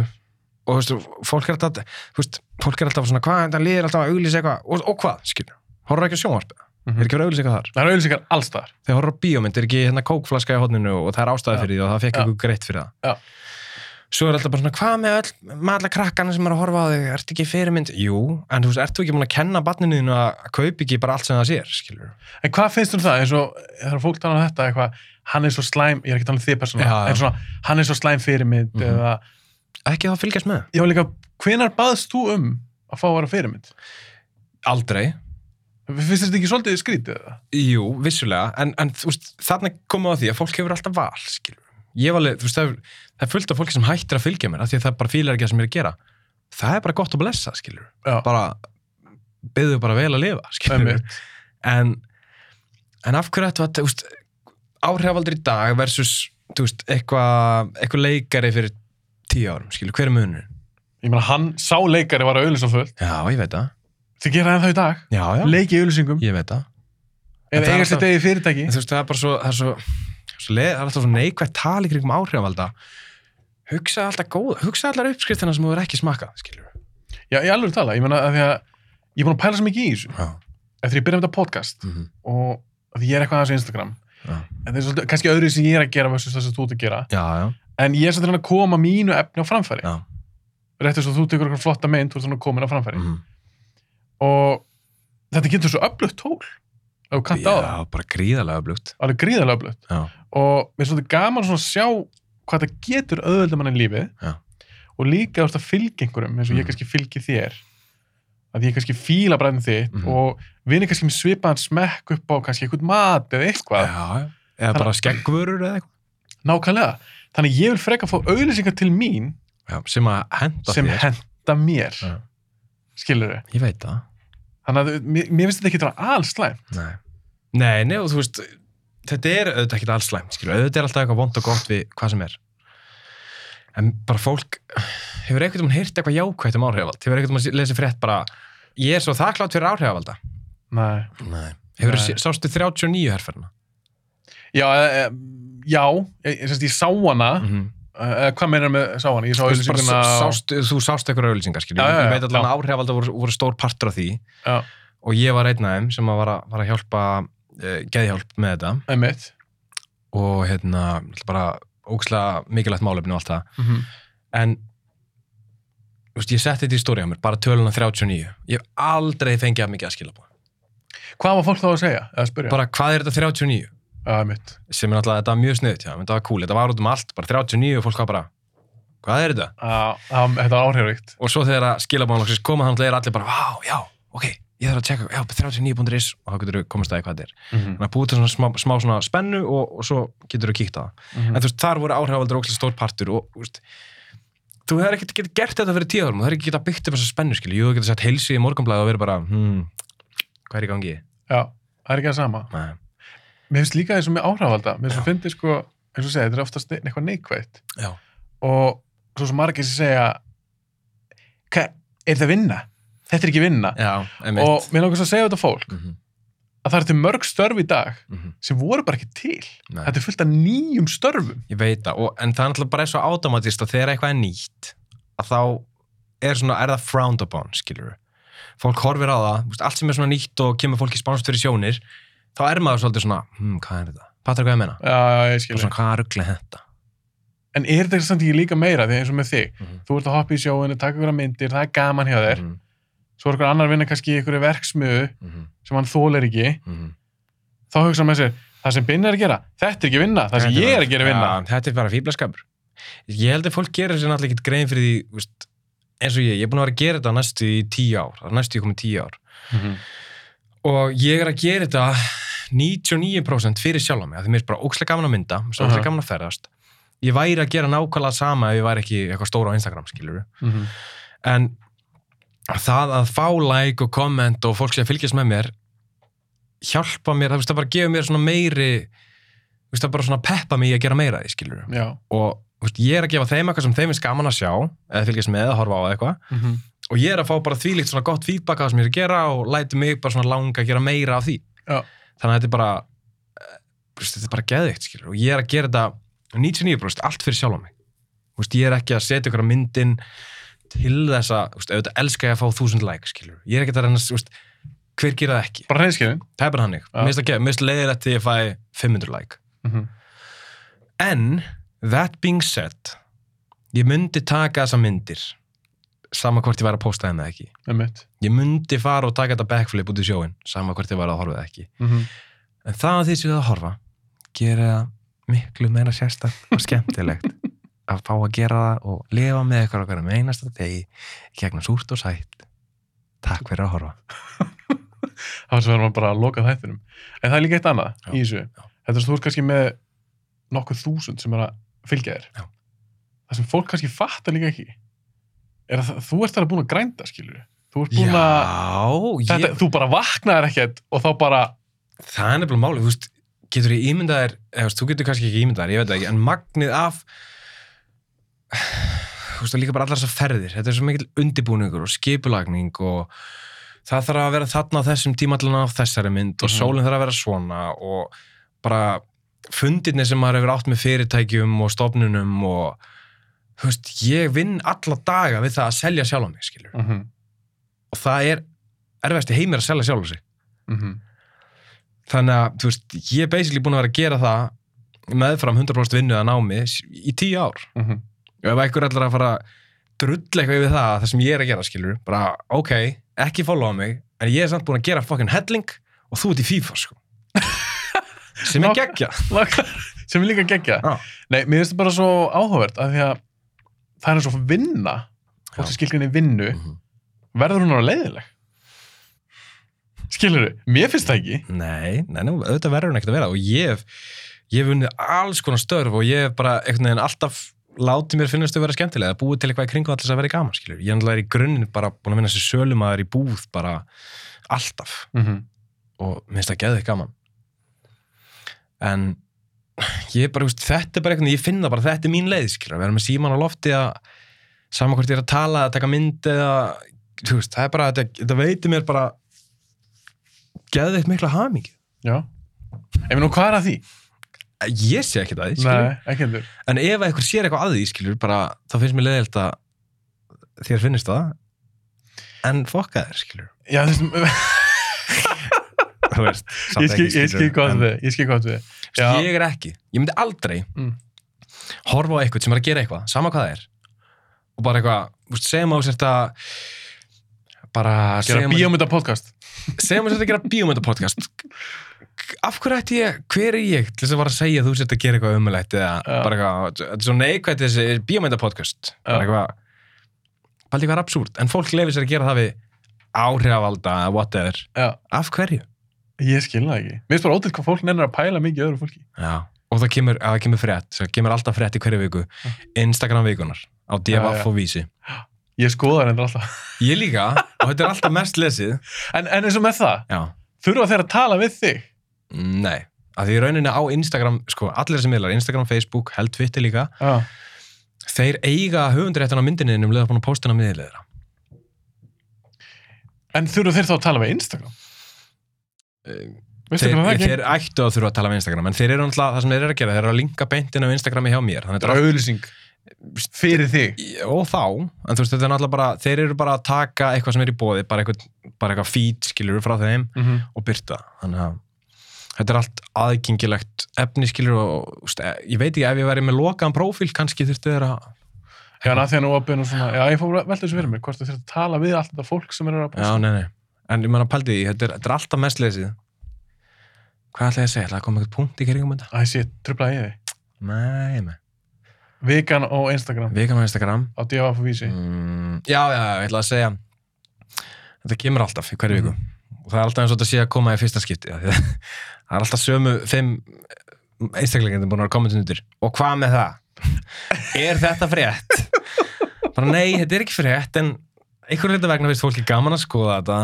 og þú veist, fólk er alltaf þú veist, fólk er alltaf svona, hvað, þetta liðir alltaf að auglýsa eitthvað og, og hvað, skilur, horfður ekki á sjónvarpið
Mhm.
er ekki verið að auglýsa eitthvað þar,
Það eru auðvitað allstaðar.
þegar horfður á bíómynd er ekki hérna kókflaska í hodninu og það er ástæði
Já.
fyrir því og það fekk
Já.
eitthvað greitt fyrir það
Já.
svo er alltaf bara svona, hvað með öll með alla krakkana sem er að horfa á þig, ertu ekki fyrirmynd jú, en þú veist, ertu ekki múin að kenna barninu þínu að kaupa ekki bara allt sem það sér, skilur
En hvað finnst þú um það? Eins og, þegar fólk tala um þetta, eitthvað, hann er svo slæm, ég er ekki talað um þig persónulega,
Já, já.
en svona, hann er svo slæm fyrirmynd
Mhm.
eða,
ekki þá fylgjast með,
já líka, hvenar baðst þú um að fá að vera fyrirmynd?
aldrei
Finnst þetta ekki svolítið skrítið eða?
Jú, vissulega, en, en þú veist, þarna komum við á því að fólk hefur alltaf val, skilur. Ég var alveg, þú veist, það er, það er fullt af fólki sem hættir að fylgja mér, af því að það bara fílar ekki það sem ég er að gera. Það er bara gott að blessa, skilur.
Já.
Bara, byggðu bara vel að lifa, skilur.
Einmitt.
En, en af hverju ættu að, þú veist, áhrifaldur í dag versus, þú veist, eitthvað, eitthvað leikari fyrir tíu árum, skilur, hver er munur?
Ég meina, hann sá leikari var að auðvitað fullt,
Já, ég veit það.
þið gera það í dag,
Já, já.
leiki í auðlýsingum,
ég veit það. En
eða
það er
eigast þetta í fyrirtæki.
En þú veist, það er bara svo, það er svo, svo leið, það er alltaf svo neikvægt tali kringum áhrifalda. Hugsa alltaf góð, hugsa allar uppskriftina sem þú er ekki smakað, skiljur.
Já, ég alveg tala, ég meina, af því að ég er búin að pæla svo mikið í þessu,
Já.
eftir ég byrja með þetta podcast
Mm -hmm.
og af því ég er eitthvað aðeins á Instagram,
Já.
en það er svolítið, kannski öðru sem ég er að gera versus það sem þú ert að gera,
já, já,
en ég er svolítið að reyna að koma mínu efni á framfæri
já.
rétt eins og þú tekur eitthvað flotta mynd þú ert svona komin á framfæri
Mm -hmm.
og þetta getur svo öflugt tól ef þú kannt á það,
Já, bara gríðarlega blugt.
alveg gríðarlega öflugt
Já.
og mér er svolítið gaman svona að sjá hvað það getur öðvöldum mann í lífi
Já.
og líka þú ert að fylgja einhverjum eins og
Mhm.
ég kannski fylgi þér að ég kannski fíla bræðin þitt
Mhm.
og vinni kannski með svipaðan smekk upp á kannski eitthvað mat eða eitthvað
Já, já. Eða bara skeggvörur eða eitthvað.
nákvæmlega, þannig að ég vil freka að fá auðlýsingar til mín
Já, sem að henda
sem
þér.
henda mér
Já.
skilur þau
Ég veit það.
Þannig að mér, mér finnst þetta ekki vera alls slæm.
Nei. Nei, nei, og þú veist, þetta er auðvitað ekkert alls slæmt, skilur, auðvitað er alltaf eitthvað vond og gott við hvað sem er. En bara fólk, hefur einhvern veginn heyrt eitthvað jákvægt um áhrifavald? Hefur einhvern veginn lesið frétt bara, ég er svo þakklátt fyrir áhrifavalda?
Nei.
Nei. Hefur
Nei.
þú sástu 39 herferna?
Já, e, já ég, ég, ég sá hana, mm.
-hmm.
hvað meinar með sá hana? Ég
Þú,
sá
bara
auðvitað
sá- sástu, þú sástu eitthvað auðlýsingar, skilur,
Já, já,
ég
já,
veit allan
já.
að áhrifavalda voru, voru stór partur af því
Já.
og ég var einn af þeim sem að var að, var að hjálpa, uh, geðhjálp með þetta.
Einmitt.
og hérna, náttúrulega bara ógslag mikilvægt málefni og allt það
Mm -hmm.
en þú veist, ég setti þetta í stóri á mér, bara töluna 39 ég hef aldrei fengið að mikið að skila búin
Hvað var fólk þá að segja? Eða spyrja?
bara hvað er þetta 39?
Já, einmitt.
sem er náttúrulega, þetta var mjög sniðut, já, þetta var cool þetta var út um allt, bara 39 og fólk var bara hvað er þetta?
Já, það var- Ah, þetta var áhrifuríkt.
og svo þegar að skila búin loksins koma þannig er allir bara, vá, já, ok ég þarf að tjekka, já, 39.is og þá getur þú komast að því hvað þetta er
Mm
þannig að búið til svona smá, smá svona spennu og, og svo getur þú kíkt á það
Mhm.
en þú veist, þar voru áhrifaldur ógæslega stór partur og þú veist, þú hefur ekkert getið gert þetta fyrir tíu árum, þú hefur ekki getið að byggt upp þessa spennu skilju, jú, þú getur sett heilsu í morgunblæði og verið bara hmm, hvað er í gangi?
Já, það er ekki að sama.
Nei.
Mér finnst líka eins og með áhrifalda. Mér finnst
Já.
það fyndi sko, eins og segja, þetta er oftast ne- eitthvað neikvægt.
Já.
Og svo sem margir sem segja, hvað, er þetta vinna? Þetta er ekki vinna.
Já, emitt
Og mér langar svo að segja þetta fólk,
mm -hmm,
að það er til mörg störf í dag
mm -hmm,
sem voru bara ekki til. Þetta er fullt af nýjum störfum.
Ég veit það, og, en það er náttúrulega bara svo automatist að þegar eitthvað er nýtt að þá er, svona, er það frowned upon skilur fólk horfir á það, þú veist, allt sem er svona nýtt og kemur fólki spánst fyrir sjónir þá er maður svolítið svona, hmm, hvað er þetta? Patrik, hvað ég meina?
Já, já, ég
Bara
skilja.
Svona, hvað ruggli þetta?
En er þetta samt ekki líka meira, því eins og með þig,
Mhm.
þú ert að hoppa í sjóinu, taka ykkur myndir, það er gaman hjá þér,
Mm
svo er ykkur annar vinna kannski í ykkur verksmiðu
-hmm,
sem hann þólar
mm
ekki,
-hmm.
þá hugsa hann með sér, það sem Binni er að gera, þetta er ekki vinna, það sem
Þetta
ég er að gera er vinna.
ja, þetta er bara fýblaskapur ég held að fólk gerir sér náttúrulega ekkert grein fyrir því veist, eins og ég, ég er búin að vera að gera þetta næstu í tíu ár, það er næstu í komið tíu ár
Mhm.
og ég er að gera þetta 99% fyrir sjálf á mig, af því mér er bara ókslega gaman að mynda mér er ókslega
Aha.
gaman að ferðast ég væri að gera nákvæmlega sama ef ég væri ekki eitthvað stóra á Instagram skilur
Mhm.
en það að fá like og komment og fólk sem fylgjast með mér hjálpa mér, það, veist, það bara gefur mér svona meiri þú veist, það bara svona peppa mig í að gera meira af því skilur
Já.
og þú veist, ég er að gefa þeim eitthvað sem þeim er gaman að sjá eða fylgjast með að horfa á eða eitthvað
Mhm.
og ég er að fá bara þvílíkt svona gott feedback af það sem ég er að gera og læti mig bara svona langa að gera meira af því
Já.
þannig að þetta er bara eh, þú veist, þetta er bara geðveikt skilur og ég er að gera þetta 99% allt fyrir sjálf á mig Þú veist, ég er ekki að setja ykkur á myndin til þess að, þú veist, auðvitað elska ég að fá þúsund like skilur, ég er ekki að reyna þú veist, hver gera það ekki,
bara hreinskilin
það er bara hannig
Já.
mér finnst það geð- mér finnst leiðilegt þegar ég fæ 500 like
mm
En, that being said, ég myndi taka þessa myndir, sama hvort ég væri að posta þeim eða ekki.
einmitt
Ég myndi fara og taka þetta backflip út í sjóin, sama hvort ég væri að horfa eða ekki.
mm
En það að því sem það að horfa, gera það miklu meira sérstakt og skemmtilegt. að fá að gera það og lifa með ykkur okkar um einasta degi, í gegnum súrt og sætt. Takk fyrir að horfa.
það sem verður maður bara að loka þættinum en það er líka eitt annað
Já,
í þessu þetta er svo þú ert kannski með nokkuð þúsund sem er að fylgja þér
Já.
það sem fólk kannski fattar líka ekki er að það- þú ert alveg búin að grænda skilur þú ert búin að
Já,
þetta,
ég,
þú bara vaknaðir ekkert og þá bara
það er nefnilega málið, þú veist, getur ég ímyndað þér, eða þú veist, þú getur kannski ekki ímyndað þér, ég veit það ekki, en magnið af, þú veist, og líka bara allar þessar ferðir, þetta er svo mikill undirbúningur og skipulagning og það þarf að vera þarna á þessum tíma til að ná þessari mynd og
Mhm.
sólinn þarf að vera svona og bara fundirni sem maður hefur átt með fyrirtækjum og stofnunum og, þú veist, ég vinn alla daga við það að selja sjálf á mig, skilur,
mm -hmm,
og það er erfiðast í heimir að selja sjálf á sig
Mhm.
þannig að, þú veist, ég er basically búin að vera að gera það meðfram 100% vinnu að námi s- í tíu ár
Mhm.
og ef einhver ætlar að fara að drull eitthvað yfir það, það sem ég er að gera, skilur bara, ok, ekki followa mig en ég er samt búin að gera fucking helling og þú ert í FIFA, sko sem er
Nák-
geggja
sem er líka geggja
Já.
nei, mér finnst það bara svo áhugavert af því að það er eins og vinna
Já.
og sem skilgrinni vinnu
Mhm.
verður hún alveg leiðileg skilur þau, mér finnst það ekki
Nei, nei, nei, auðvitað verður hún ekkert að vera og ég hef, ég hef unnið alls konar störf og ég hef bara einhvern veginn alltaf látið mér finnast þau vera skemmtilega eða búið til eitthvað í kringu allir að vera gaman, skilur. Ég er náttúrulega í grunninn bara búin að vinna sem sölumæður í búð bara alltaf
mm
og minnst það geðið gaman. En ég er bara, þú veist, þetta er bara einhvern veginn, ég finn það bara, þetta er mín leið, skilur. Við erum með síman á lofti að saman hvort ég er að tala, að taka mynd eða, þú veist, það er bara, þetta, þetta veitir mér bara geðið mikla hamingju.
já ef nú hvað er að því?
ég sé ekkert að því, skilur.
Nei, ekki heldur
En ef einhver sér eitthvað að því, skilur, bara, þá finnst mér leiðilt að þér finnist það. En fokka þér, skilur.
já, þess,
Þú veist, samt
ég skil- ég skil gott
en-
við ég skil gott við
Þú veist,
já,
Ég er ekki. Ég myndi aldrei
Mm.
horfa á eitthvað sem er að gera eitthvað, sama hvað það er. Og bara eitthvað, þú veist, segjum að þú sért að bara,
gera
segjum að-
bíómynda podcast
segjum að þú sért að gera bíómyndapodcast. Af hverju ætti ég, hver er ég til þess að vara að segja að þú sért að gera eitthvað umulegt eða
Já.
bara eitthvað, þetta er svo neikvægt þessi bíómyndapodcast. Bara
Já.
eitthvað, bara eitthvað absúrt. En fólk leifir sér að gera það við áhrifalda, whatever.
já,
Af hverju?
ég skil það ekki mér finnst bara ótrúlegt hvað fólk nennir að pæla mikið í öðru fólki
Já, og það kemur, að það kemur frétt, það kemur alltaf frétt í hverju viku, Instagram vikunar, á
Já, já.
DFF og Vísi.
ég skoða það endur alltaf
Ég líka, og þetta er alltaf mest lesið.
en, en eins og með það,
Já,
þurfa þeir að tala við þig
nei, að því í rauninni á Instagram, sko, allir þessi miðlar, Instagram, Facebook, held Twitter líka,
já,
þeir eiga höfunduréttan á myndinni um leiða búin að pósta hana miðilegðra.
en þurfa þeir þá að tala við Instagram Eh, veistu
Þeir,
hvað það er
þeir ættu að þurfa að tala um Instagram, en þeir eru alltaf, það sem þeir eru að gera, þeir eru að linka beintina á Instagrami hjá mér, þannig að þetta er
er auðlýsing fyrir þig
og þá, en þú veist, þetta er náttúrulega bara þeir eru bara að taka eitthvað sem er í bóði bara eitthvað, bara eitthvað feed skilur frá þeim
Mhm.
og byrta þannig að þetta er allt aðgengilegt efni skilur og úst, ég veit ekki ef ég væri með lokaðan prófíl kannski þurfti þeir að
já, en að því að nú að byrja svona já, ég fór að velta þessu fyrir mig, hvort þeir þurfa að tala við allt þetta fólk sem er að
já, nei, nei. en ég menna pældi því, þetta er, þetta er alltaf mest lesið hvað ætla ég að segja, ætla að koma eitthvað punkt í kringum þetta
að þessi, trublaði ég þig
nei, nei,
vikan og Instagram
vikan á Instagram
á DFF vísi
mm, já, já, já, ég ætla að segja þetta kemur alltaf í hverju viku og það er alltaf eins og þetta sé að koma í fyrsta skipti af því að það er alltaf sömu fimm einstaklingarnir búin að vera komin undir og hvað með það? er þetta frétt? bara nei, þetta er ekki frétt en einhverjum þetta vegna finnst fólki gaman að skoða þetta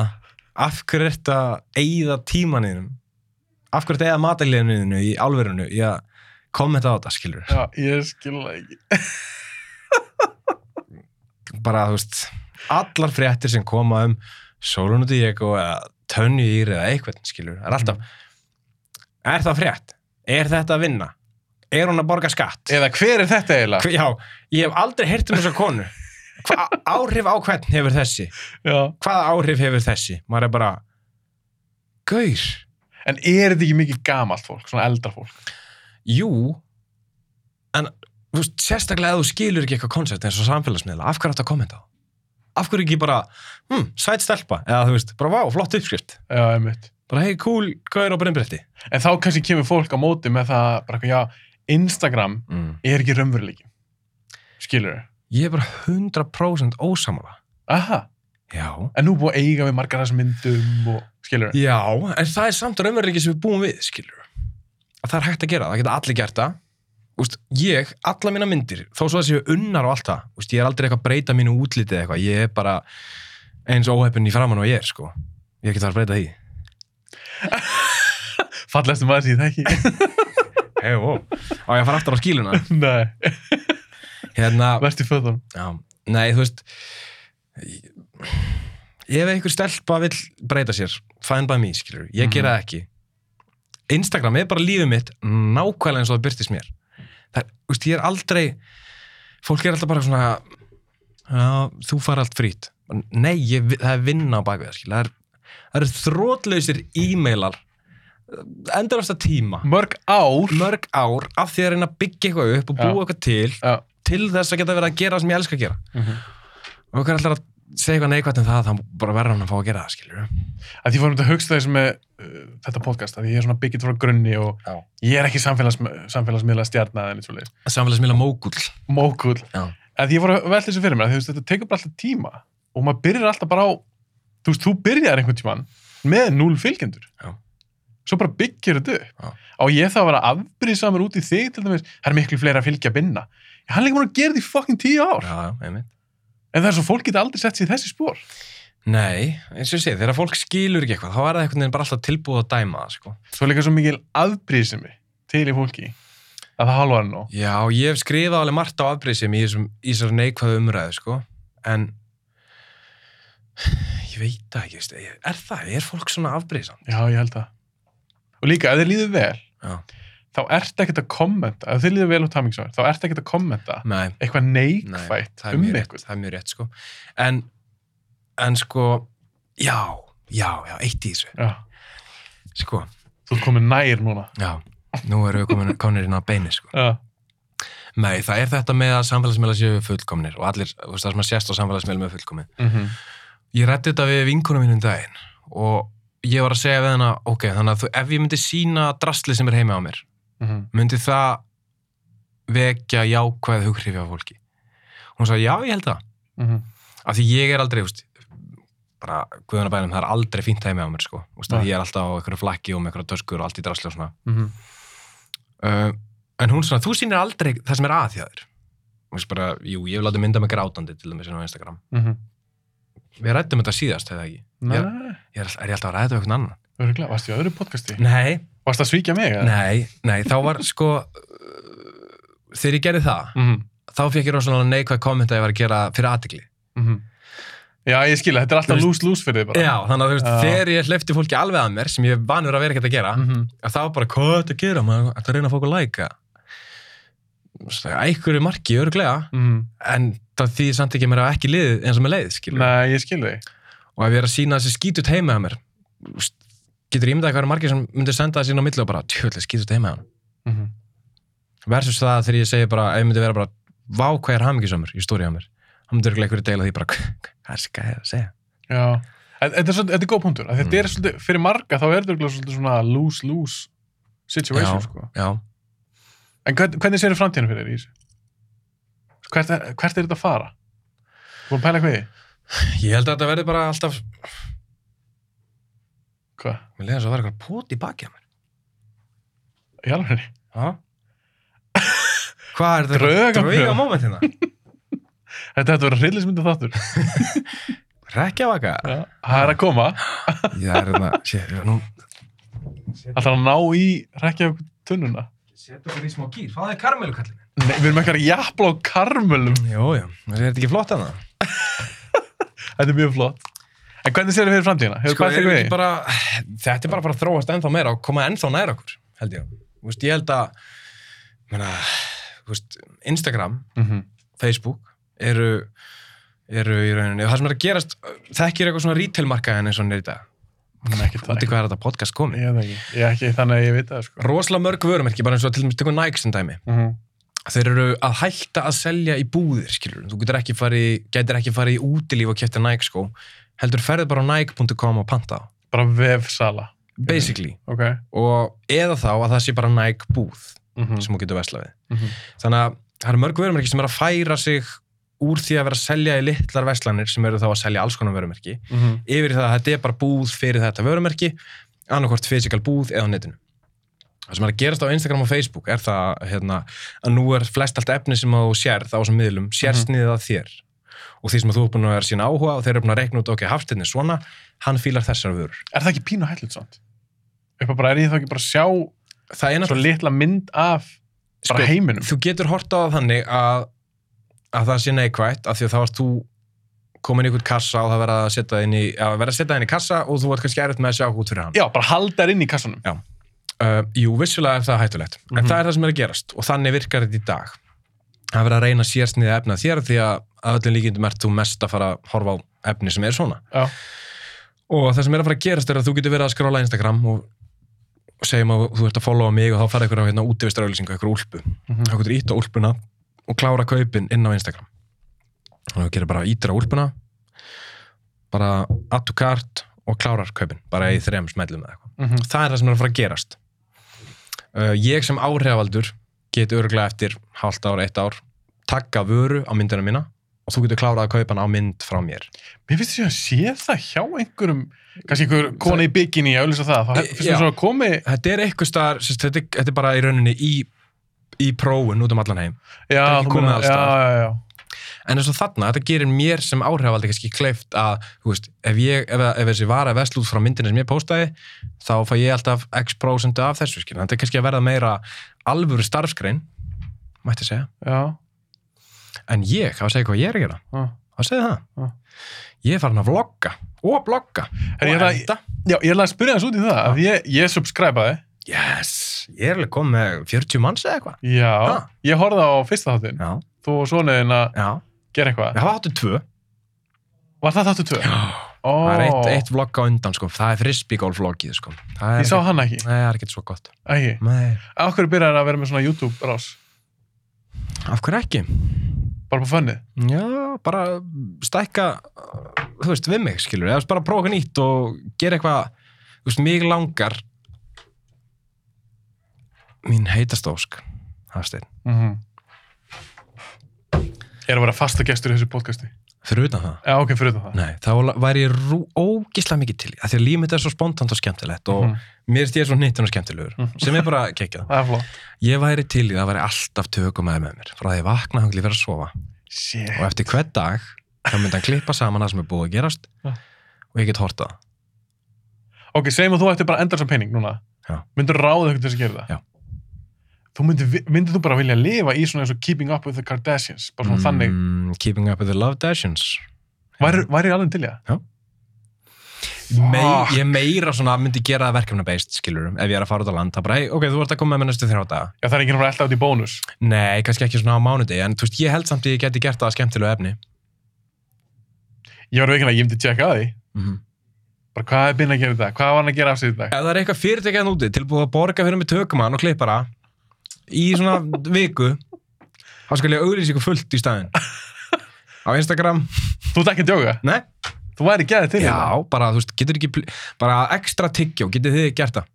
af hverju er þetta eigða tímaninum af hverju er þetta eigða matalíðaninu í álverinu í að kommenta á þetta
Mm.
skilur
já, ég skil það ekki
bara þú veist allar fréttir sem koma um Sólun og Diego eða Tönju Ír eða eitthvað, skilur, er alltaf er það frétt? Er þetta að vinna? Er hún að borga skatt?
Eða hver er þetta eiginlega?
Hve- Já, ég hef aldrei heyrt um þessa konu Hva, áhrif á hvern hefur þessi?
Já.
Hvaða áhrif hefur þessi? Maður er bara Gaur
En er þetta ekki mikið gamalt fólk, svona eldra fólk?
Jú En þú veist, sérstaklega ef þú skilur ekki eitthvað koncept eins og samfélagsmiðla, af hverju áttu að kommenta á? Af hverju ekki bara, hm, sæt stelpa eða þú veist, bara vá, flott uppskrift
Já, einmitt.
bara hei, cool, hvað er á brennbretti?
En þá kannski kemur fólk á móti með það, bara eitthvað, já, Instagram
Mm.
er ekki raunveruleikin. Skilur þau?
Ég er bara 100% ósamála
Aha,
Já
en nú er búið að eiga við margar þessum myndum og skilur þau?
Já, en það er samt raunveruleiki sem við búum við, skilur að það er hægt að gera, það geta allir gert það Úst, ég, alla mína myndir þó svo það séu unnar og allt það Úst, ég er aldrei eitthvað að breyta mínu útliti eða eitthvað ég er bara eins óheppin í framann og ég er sko. ég get það að breyta því
Fallastu maður sem ég þekki?
hey, wow. á ég að fara aftur á skíluna
Nei,
hérna,
verðst í föðunum.
já, nei, þú veist ég- ef einhver stelpa vill breyta sér fine by me, skilur, ég
Mhm.
gera það ekki Instagram er bara lífið mitt nákvæmlega eins og það byrtist mér það, er, þú veist, ég er aldrei fólk er alltaf bara svona já, þú fara allt frýtt nei, ég, vi- það er vinna á bakvið það, skilur, það er Það eru þrótlausir e-mailar endurasta tíma
Mörg ár.
mörg ár af því að reyna að byggja eitthvað upp og
Já.
búa eitthvað til
Já. mhm.
til þess að geta verið að gera það sem ég elska að gera og okkar ætlar að segja eitthvað neikvægt en það þá bara verður hann að fá að gera það, skilur
að því fórum þetta að hugsa þessu með uh, þetta podcast, að ég er svona byggitt frá grunni og
Já.
ég er ekki samfélags, samfélagsmiðla stjarna eða neitt svo leiðis,
samfélagsmiðla mógull
mókull
Já.
að því ég fór að velta þessu fyrir mér, að þú veist þetta tekur bara alltaf tíma og maður byrjar alltaf bara á þú veist, þú byrjar einhvern tíman með núl fylgjendur
Já.
svo bara byggir þetta upp
Já.
á ég þá að vera afbrísamur út í þig til dæmis, það er miklu fleira að fylgja að binna hann er ekki múin að gera því fucking tíu ár
já, einmitt
en það er svo fólk geta aldrei sett sér í þessi spór
nei, eins og ég segi, þegar fólk skilur ekki eitthvað þá er það einhvern veginn bara alltaf tilbúið að dæma það, sko
svo er líka svo mikil afbrísimi til í fólki að það hálfa hann
já, ég hef skrifað alveg margt á afbrýðsum í þessum í þessar neikvæðu umræðu, sko en ég veit það ekki, veist, er það, er fólk svona afbrýðsand
Já, ég held það. Og líka, ef þið líður vel,
Já.
þá ertu ekkert að kommenta, ef þið líður vel og tamingisvæður, þá ertu ekkert að kommenta
nei,
eitthvað
Nei,
neikvætt
það er
um
mjög rétt,
eitthvað.
það er mjög rétt sko. en, en sko já, já, já, eitt í þessu
Já,
sko,
þú ert komin nær núna.
já, nú erum við komin, komin inn á beini sko.
Já,
nei, það er þetta með að samfélagsmiðla séu fullkomnir og allir, þú veist það sem að sést á samfélagsmiðlum er fullkomið
mm
ég rætti þetta við vinkunum mínum daginn og ég var að segja við hennar ok, þannig að þú, ef ég myndi sína drastli sem er heima á mér
mhm,
myndi það vekja jákvæð hughrifja á fólki hún sagði, já, ég held það
mhm,
af því ég er aldrei úst, bara guðunabænum, það er aldrei fínt heimi á mér sko, úst,
Nei.
ég er alltaf á einhverju flakki og með einhverju töskur og allt í drasli og svona
mhm,
uh, en hún svona, þú sýnir aldrei það sem er að því að þér Þú veist bara, jú, ég vil láta mynda mig grátandi til dæmis inn á Instagram,
mhm.
við rættum þetta síðast hefði það ekki,
Nei,
Já. ég er, er ég alltaf að ræða þetta eitthvað annan?
örgulega, varstu í öðru podcasti?
Nei,
Varstu að svíkja mig? eða?
nei, nei, þá var sko uh, þegar ég gerði það
Mhm,
þá fekk ég rosalega neikvæð komment að ég var að gera fyrir aðtikli
mhm. Já, ég skilja, þetta er alltaf
Þú
lús-lús fyrir þið bara.
Já, þannig að þú veist,
Já.
þegar ég hleyfti fólki alveg að mér sem ég er vanur að vera ekkert að gera
Mhm,
að það var bara, hvað er þetta að gera, maður ætti að reyna að fá okkur að læka einhverju marki, örglega
mhm.
en það því samt ekki að mér hafa ekki liðið eins og með leið, skilur
Nei, ég skilja þig.
og ef ég er að sína þessi skítut heima að mér úst, getur ég myndað hverju marki sem myndir senda það sína á milli og bara, tjóðlega skítut heima að hann
Mhm.
versus það þegar ég segi bara, ef ég myndi vera bara vá hvað ég er hamingisamur í stóri á mér þá myndi örglega einhverju deila því bara, hvað er það að segja
Já, En þetta er, svolítið- þetta er góð punktur. að Þetta
Mm.
er svolítið, fyrir marga þá er þetta örugglega svolítið svona lose-lose situation,
Já.
sko.
Já,
En hvern, hvernig serðu framtíðinu fyrir þér í þessu? Hvert er, hvert er þetta að fara? Þú erum pæla hvað í því?
ég held að þetta verði bara alltaf
Hvað?
mér leiðast að vera eitthvað pót í baki að mér
Í alveg?
Ha? Hvað er þetta?
Draugapröf.
Drauga momentina?
Þetta ætti að vera hryllismyndu þáttur.
Rekkjavaka?
Það er að koma.
Já, er þetta, sér, nú
Það þarf að ná í rekja okkur tunnuna.
Setur okkur í smá gýr, fáðu þið karmelu kallinu Mm,
Nei, við erum eitthvað jafnla á karmölum.
Jó, já, er þetta ekki flott hana?
Þetta er mjög flott. En hvernig sér þið fyrir framtíðina? Hefur
Sko,
sko,
erum
bætt
við ekki
ekki við?
bara, þetta er bara að fara að þróast ennþá meira og koma ennþá nær okkur, held ég. Þú Veist, ég held að menna, veist, Instagram,
Mm -hmm.
Facebook eru, eru í rauninni. Það sem er að gerast, þekkir eitthvað svona retailmarkaðin eins og hann er í dag.
Ekki
Þú veit
það.
hvað er þetta podcast komið?
Ég veit ekki. Ég er ekki þannig að ég veit það, sko.
Rosalega mörg vörumerki, bara eins og til dæmis tökum Nike sem dæmi.
Mm -hmm.
Þeir eru að hætta að selja í búðir, skilur. Þú getur ekki farið, í- gætir ekki farið í útilíf og kæfti Nike skó. Heldur ferðið bara á nike.com og panta á.
Bara vefsala.
Basically.
Ok.
og eða þá að það sé bara Nike búð
Mm -hmm.
sem þú getur veslað við. Þannig að það eru mörg vörumerki sem er að færa sig úr því að vera að selja í litlar veslanir sem eru þá að selja alls konar vörumerki yfir í það að þetta er bara búð fyrir þetta vörumerki annarkvort fysikal búð eða á netinu. Það sem er að gerast á Instagram og Facebook er það hérna, að nú er flest allt efni sem þú sérð á þessum miðlum sérst niður að þér og því sem að þú er búin að vera sín áhuga og þeir eru búin að reikna út ok, hafstinni svona, hann fílar þessar vörur.
Er það ekki pínu hættilegt svont? Upp að bara er ég þá ekki bara að sjá
Það er
svo
náttúrulega
litla mynd af bara
Sko,
heiminum?
þú getur horta á það þannig að, að það sé neikvægt af því að þá ert þú komin í einhvern kassa og það verða að setja það inn í, að verða að setja það inn í kassa og þú ert kannski erfitt með að sjá út fyrir hann.
Já, bara halda þær inn í kassanum.
Uh, jú, vissulega er það hættulegt, en
Mhm.
það er það sem er að gerast og þannig virkar þetta í dag. Það verða að reyna sérsniði efna þér því að að öllum líkindum ert þú mest að fara að horfa á efni sem er svona.
Já.
Og það sem er að fara að gerast er að þú getur verið að skrála Instagram og, og segjum að þú ert að followa mig og þá farið ykkur á hérna útivistarauðlýsingu, ykkur úlpu.
Mm
þá getur ítt á úlpuna og klára kaupin inn á Instagram þannig að þú gerir bara ítir á úlpuna bara add to cart og klárar kaupin, bara í þrem smellum eða eitthvað.
-hmm.
Það er það sem er að fara að gerast uh, Ég sem áhrifaldur get örgulega eftir hálft ár, eitt ár taka vöru á myndina mína og þú getur klárað að kaupa hana á mynd frá mér
Mér finnst þess að sé það hjá einhverjum, kannski einhver kona í bygginni að auðvitað það, þá
Í-
finnst
já.
þess að komi,
Þetta er eitthvað staðar, sérst, þetta, er- þetta er bara í rauninni í, í prófun út um allan heim
já,
ekki
þú
komið
meina-
alls
já,
staðar.
já, já,
En eins og þarna, þetta gerir mér sem áhrifaldi kannski kleift að, þú veist, ef, ég, ef, ef þessi vara vesl út frá myndinni sem ég postaði, þá fæ ég alltaf x prósentu af þessu, skil. Þetta er kannski að verða meira alvöru starfsgrein, mætti segja.
já,
En ég, hvað segir hvað ég er að gera?
já.
Hvað segir
Já.
það? Ég er farin að vlogga og blogga og
Herri, ég er að-
enda.
Já, ég ætla að spyrja þess út í það, að ég, ég subscribeaði,
Yes, ég er alveg komið með 40 manns eða eitthvað.
já,
Ha?
ég horfði á fyrsta þáttin,
Já,
þú og svonuðin að
já.
gera eitthvað,
Það var áttu um tvö.
var það þáttu tvö? Ó,
Það er eitt, eitt vlogg á undan, sko. Það er frisbeegolf-vloggið, sko. Það er
ég sá
ekki-
hann ekki,
Nei, það er ekkert svo gott.
ekki,
Nei.
af hverju byrjar að vera með svona YouTube rás,
Af hverju ekki?
bara på fönnið,
Já, bara stækka, uh, þú veist, við mig, skilur. Eða bara prófa eitthvað nýtt og gera eitthvað, þú veist, mig langar. Mín heitast ósk, Hafsteinn.
mm -hmm. er að vera fasta gestur í þessu podcasti,
Fyrir utan það?
já, ok, fyrir það,
Nei, þá væri ég rú, ógislega mikið til. í, af Því að líf mitt er svo spontant og skemmtilegt og
Mhm.
mér stýr svo hnittin og skemmtilegur.
Mhm.
Sem er bara kekkjað.
það er flott.
Ég væri til í það að væri alltaf tökum með mér. Frá því ég vakna hangli verið að sofa.
Shit.
og eftir hver dag þá myndi hann klippa saman það sem er búið að gerast
Já.
og ég get horta það.
Ok, segjum að þú ættir bara endarsam pening núna.
Já.
Myndur ráða eitthvað til þess að gera það?
Já.
Þú myndir, vi- myndir þú bara vilja lifa í svona eins og Keeping Up with the Kardashians, bara svona
Mm.
þannig.
Keeping up with the Love Dashians
Væri, væri ég alveg til í það?
Já. Mei,
Fuck.
ég meira svona myndi gera það verkefna based skilurum, ef ég er að fara út á land það bara, hey, ok, þú ert að koma með mér næstu þrjá daga
Já, það er enginn að vera alltaf út í bónus.
nei, kannski ekki svona á mánudegi, en þú veist, ég held samt að ég geti gert það að skemmtilegu efni
Ég var veginn að ég myndi tjekka að því.
mm
Bara hvað er binn að gera í dag? Hvað var hann að gera af sig í dag?
ef það er eitthvað fyrirtækjaðan úti tilbúið að borga fyrir mig tökumann og klippara í svona viku þá skal ég auglýsa ykkur fullt í staðin á Instagram,
Þú ert ekki að djóka?
nei
Þú væri geðið til í það?
Já, bara, þú veist, getur ekki pl- bara ekstra tyggjó, getur þið gert það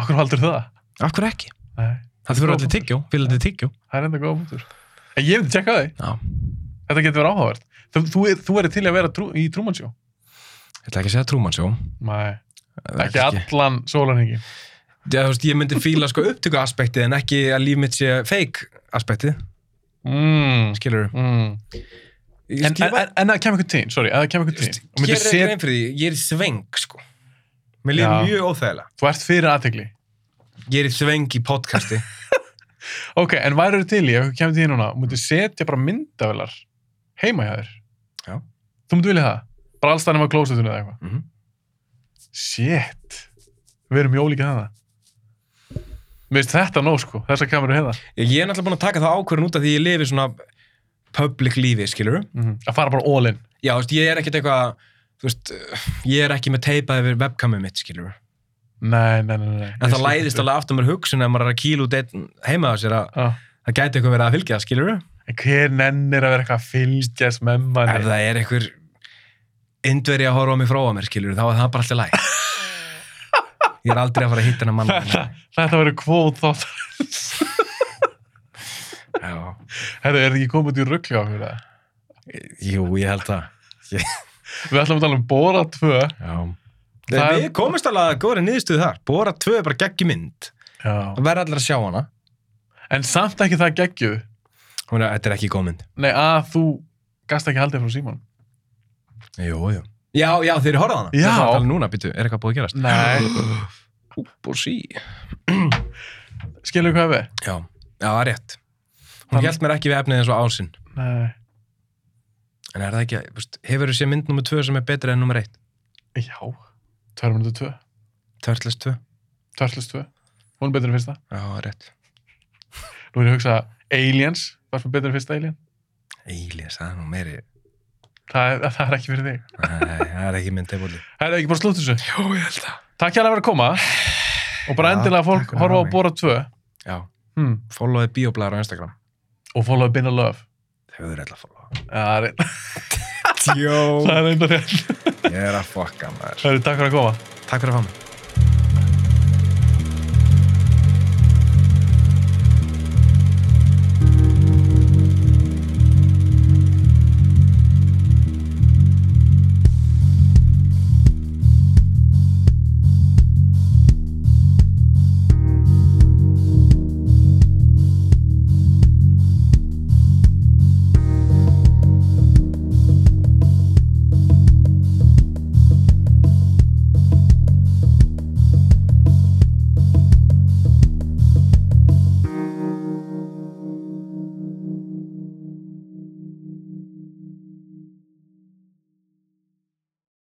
Okkur haldur það?
Af hverju ekki?
Nei,
Það
Sko-
þurfa allir tyggjó, fyrir allir tyggjó
það er enda góða punktur. En ég myndi tjekka að því.
Já,
Þetta getur verið áhugavert. Þú, þú, er- þú er til í að vera trú, í trúmannsjó?
ég ætla ekki að segja trúmannsjó
Nei,
Það er
ekki allan sólanhingi.
Já, þú veist, ég myndi fíla sko upptöku aspektið en ekki að líf mitt sé fake aspektið,
Mm.
skilur
Mm. En, en, en, en það kemur eitthvað tín, sorry, að það kemur eitthvað tín
Ég
og myndir
er
set,
grein fyrir því, ég er í sveng sko Mér líður
Já.
mjög óþægilega
þú ert fyrir aðtegli
Ég er í sveng í podcasti
ok, en væri eru til í, ef þú kemur tín núna og myndir setja bara myndavelar heima hjá þér
Já.
Þú mútt vilja það? Bara alls þannig að klósetinu eða eitthvað.
Mhm.
Shit. Við erum mjög ólíkið hana. Mér finnst þetta nóg, sko. Þessar kameru hérna.
Ég ég er náttúrulega búin að taka það ákvörðin út af því ég lifi svona public lífi, skilur
Mhm. Að fara bara all in.
Já, þú veist, ég er ekkert eitthvað, þú veist, ég er ekki með teipað yfir webkamið mitt, skilur
Nei, nei, nei, nei, nei.
En það læðist alveg aftur mér hugsun ef maður er að kýla út einn heima á sér að
alveg.
það gæti eitthvað verið að fylgja, skilur
En hver nennir að vera eitthvað að fylgjast með
Ef
manni?
það er einhver indveri að horfa á mig fróa mér, skilur þá er það bara alltaf læg. Ég er aldrei að fara að hitta hennar mann.
Þetta, þetta verður kvóð þátt.
Já,
Herru, er þetta ekki komið út í ruggli á okkur það?
jú, ég held það.
Við ætlum að tala um Bóra 2.
Já.
Það-
Við komumst alveg að góðri niðurstöðu þar. Bóra 2 er bara geggi mynd.
Já.
Það verður allir að sjá hana.
En samt ekki það geggjuð.
Hún er, þetta er ekki góð mynd.
Nei, að þú gast ekki haldið frá Símon.
Jú, jú. Já, já, þeir eru horfað hana.
Já.
Þeir eru að tala núna, býtu, er eitthvað búið að gerast?
Nei.
Úp og sí.
Skilur hvað við?
Já, já, það er rétt. Hún
Hann-
held mér ekki við efnið eins og ásinn.
Nei.
En er það ekki, þú veist, hefur þú séð mynd nummer 2 sem er betri en nummer 1?
Já. 2 minútur 2.
Törtlist 2?
2 2. Hún er betur en fyrsta.
Já, það er rétt.
Nú er ég að hugsa Aliens. Varst maður betur en fyrsta Alien?
Eilis, það er nú meiri
Það er, það er ekki fyrir þig.
Nei, það er ekki minn teibóli
Það er ekki bara slútt þessu.
Jó, ég held það
Takk hérna fyrir að koma. Og bara
Já,
endilega
takk
fólk
fyrir að
horfa á
hafa mig.
Bóra 2.
Já,
Hmm.
followði bioblæður á Instagram
Og follow Binna Love.
Þau eru alltaf followa
Já, það er-
Jó,
það er enda rétt.
ég er að fokka maður
Það eru takk fyrir að koma.
Takk fyrir að fá mig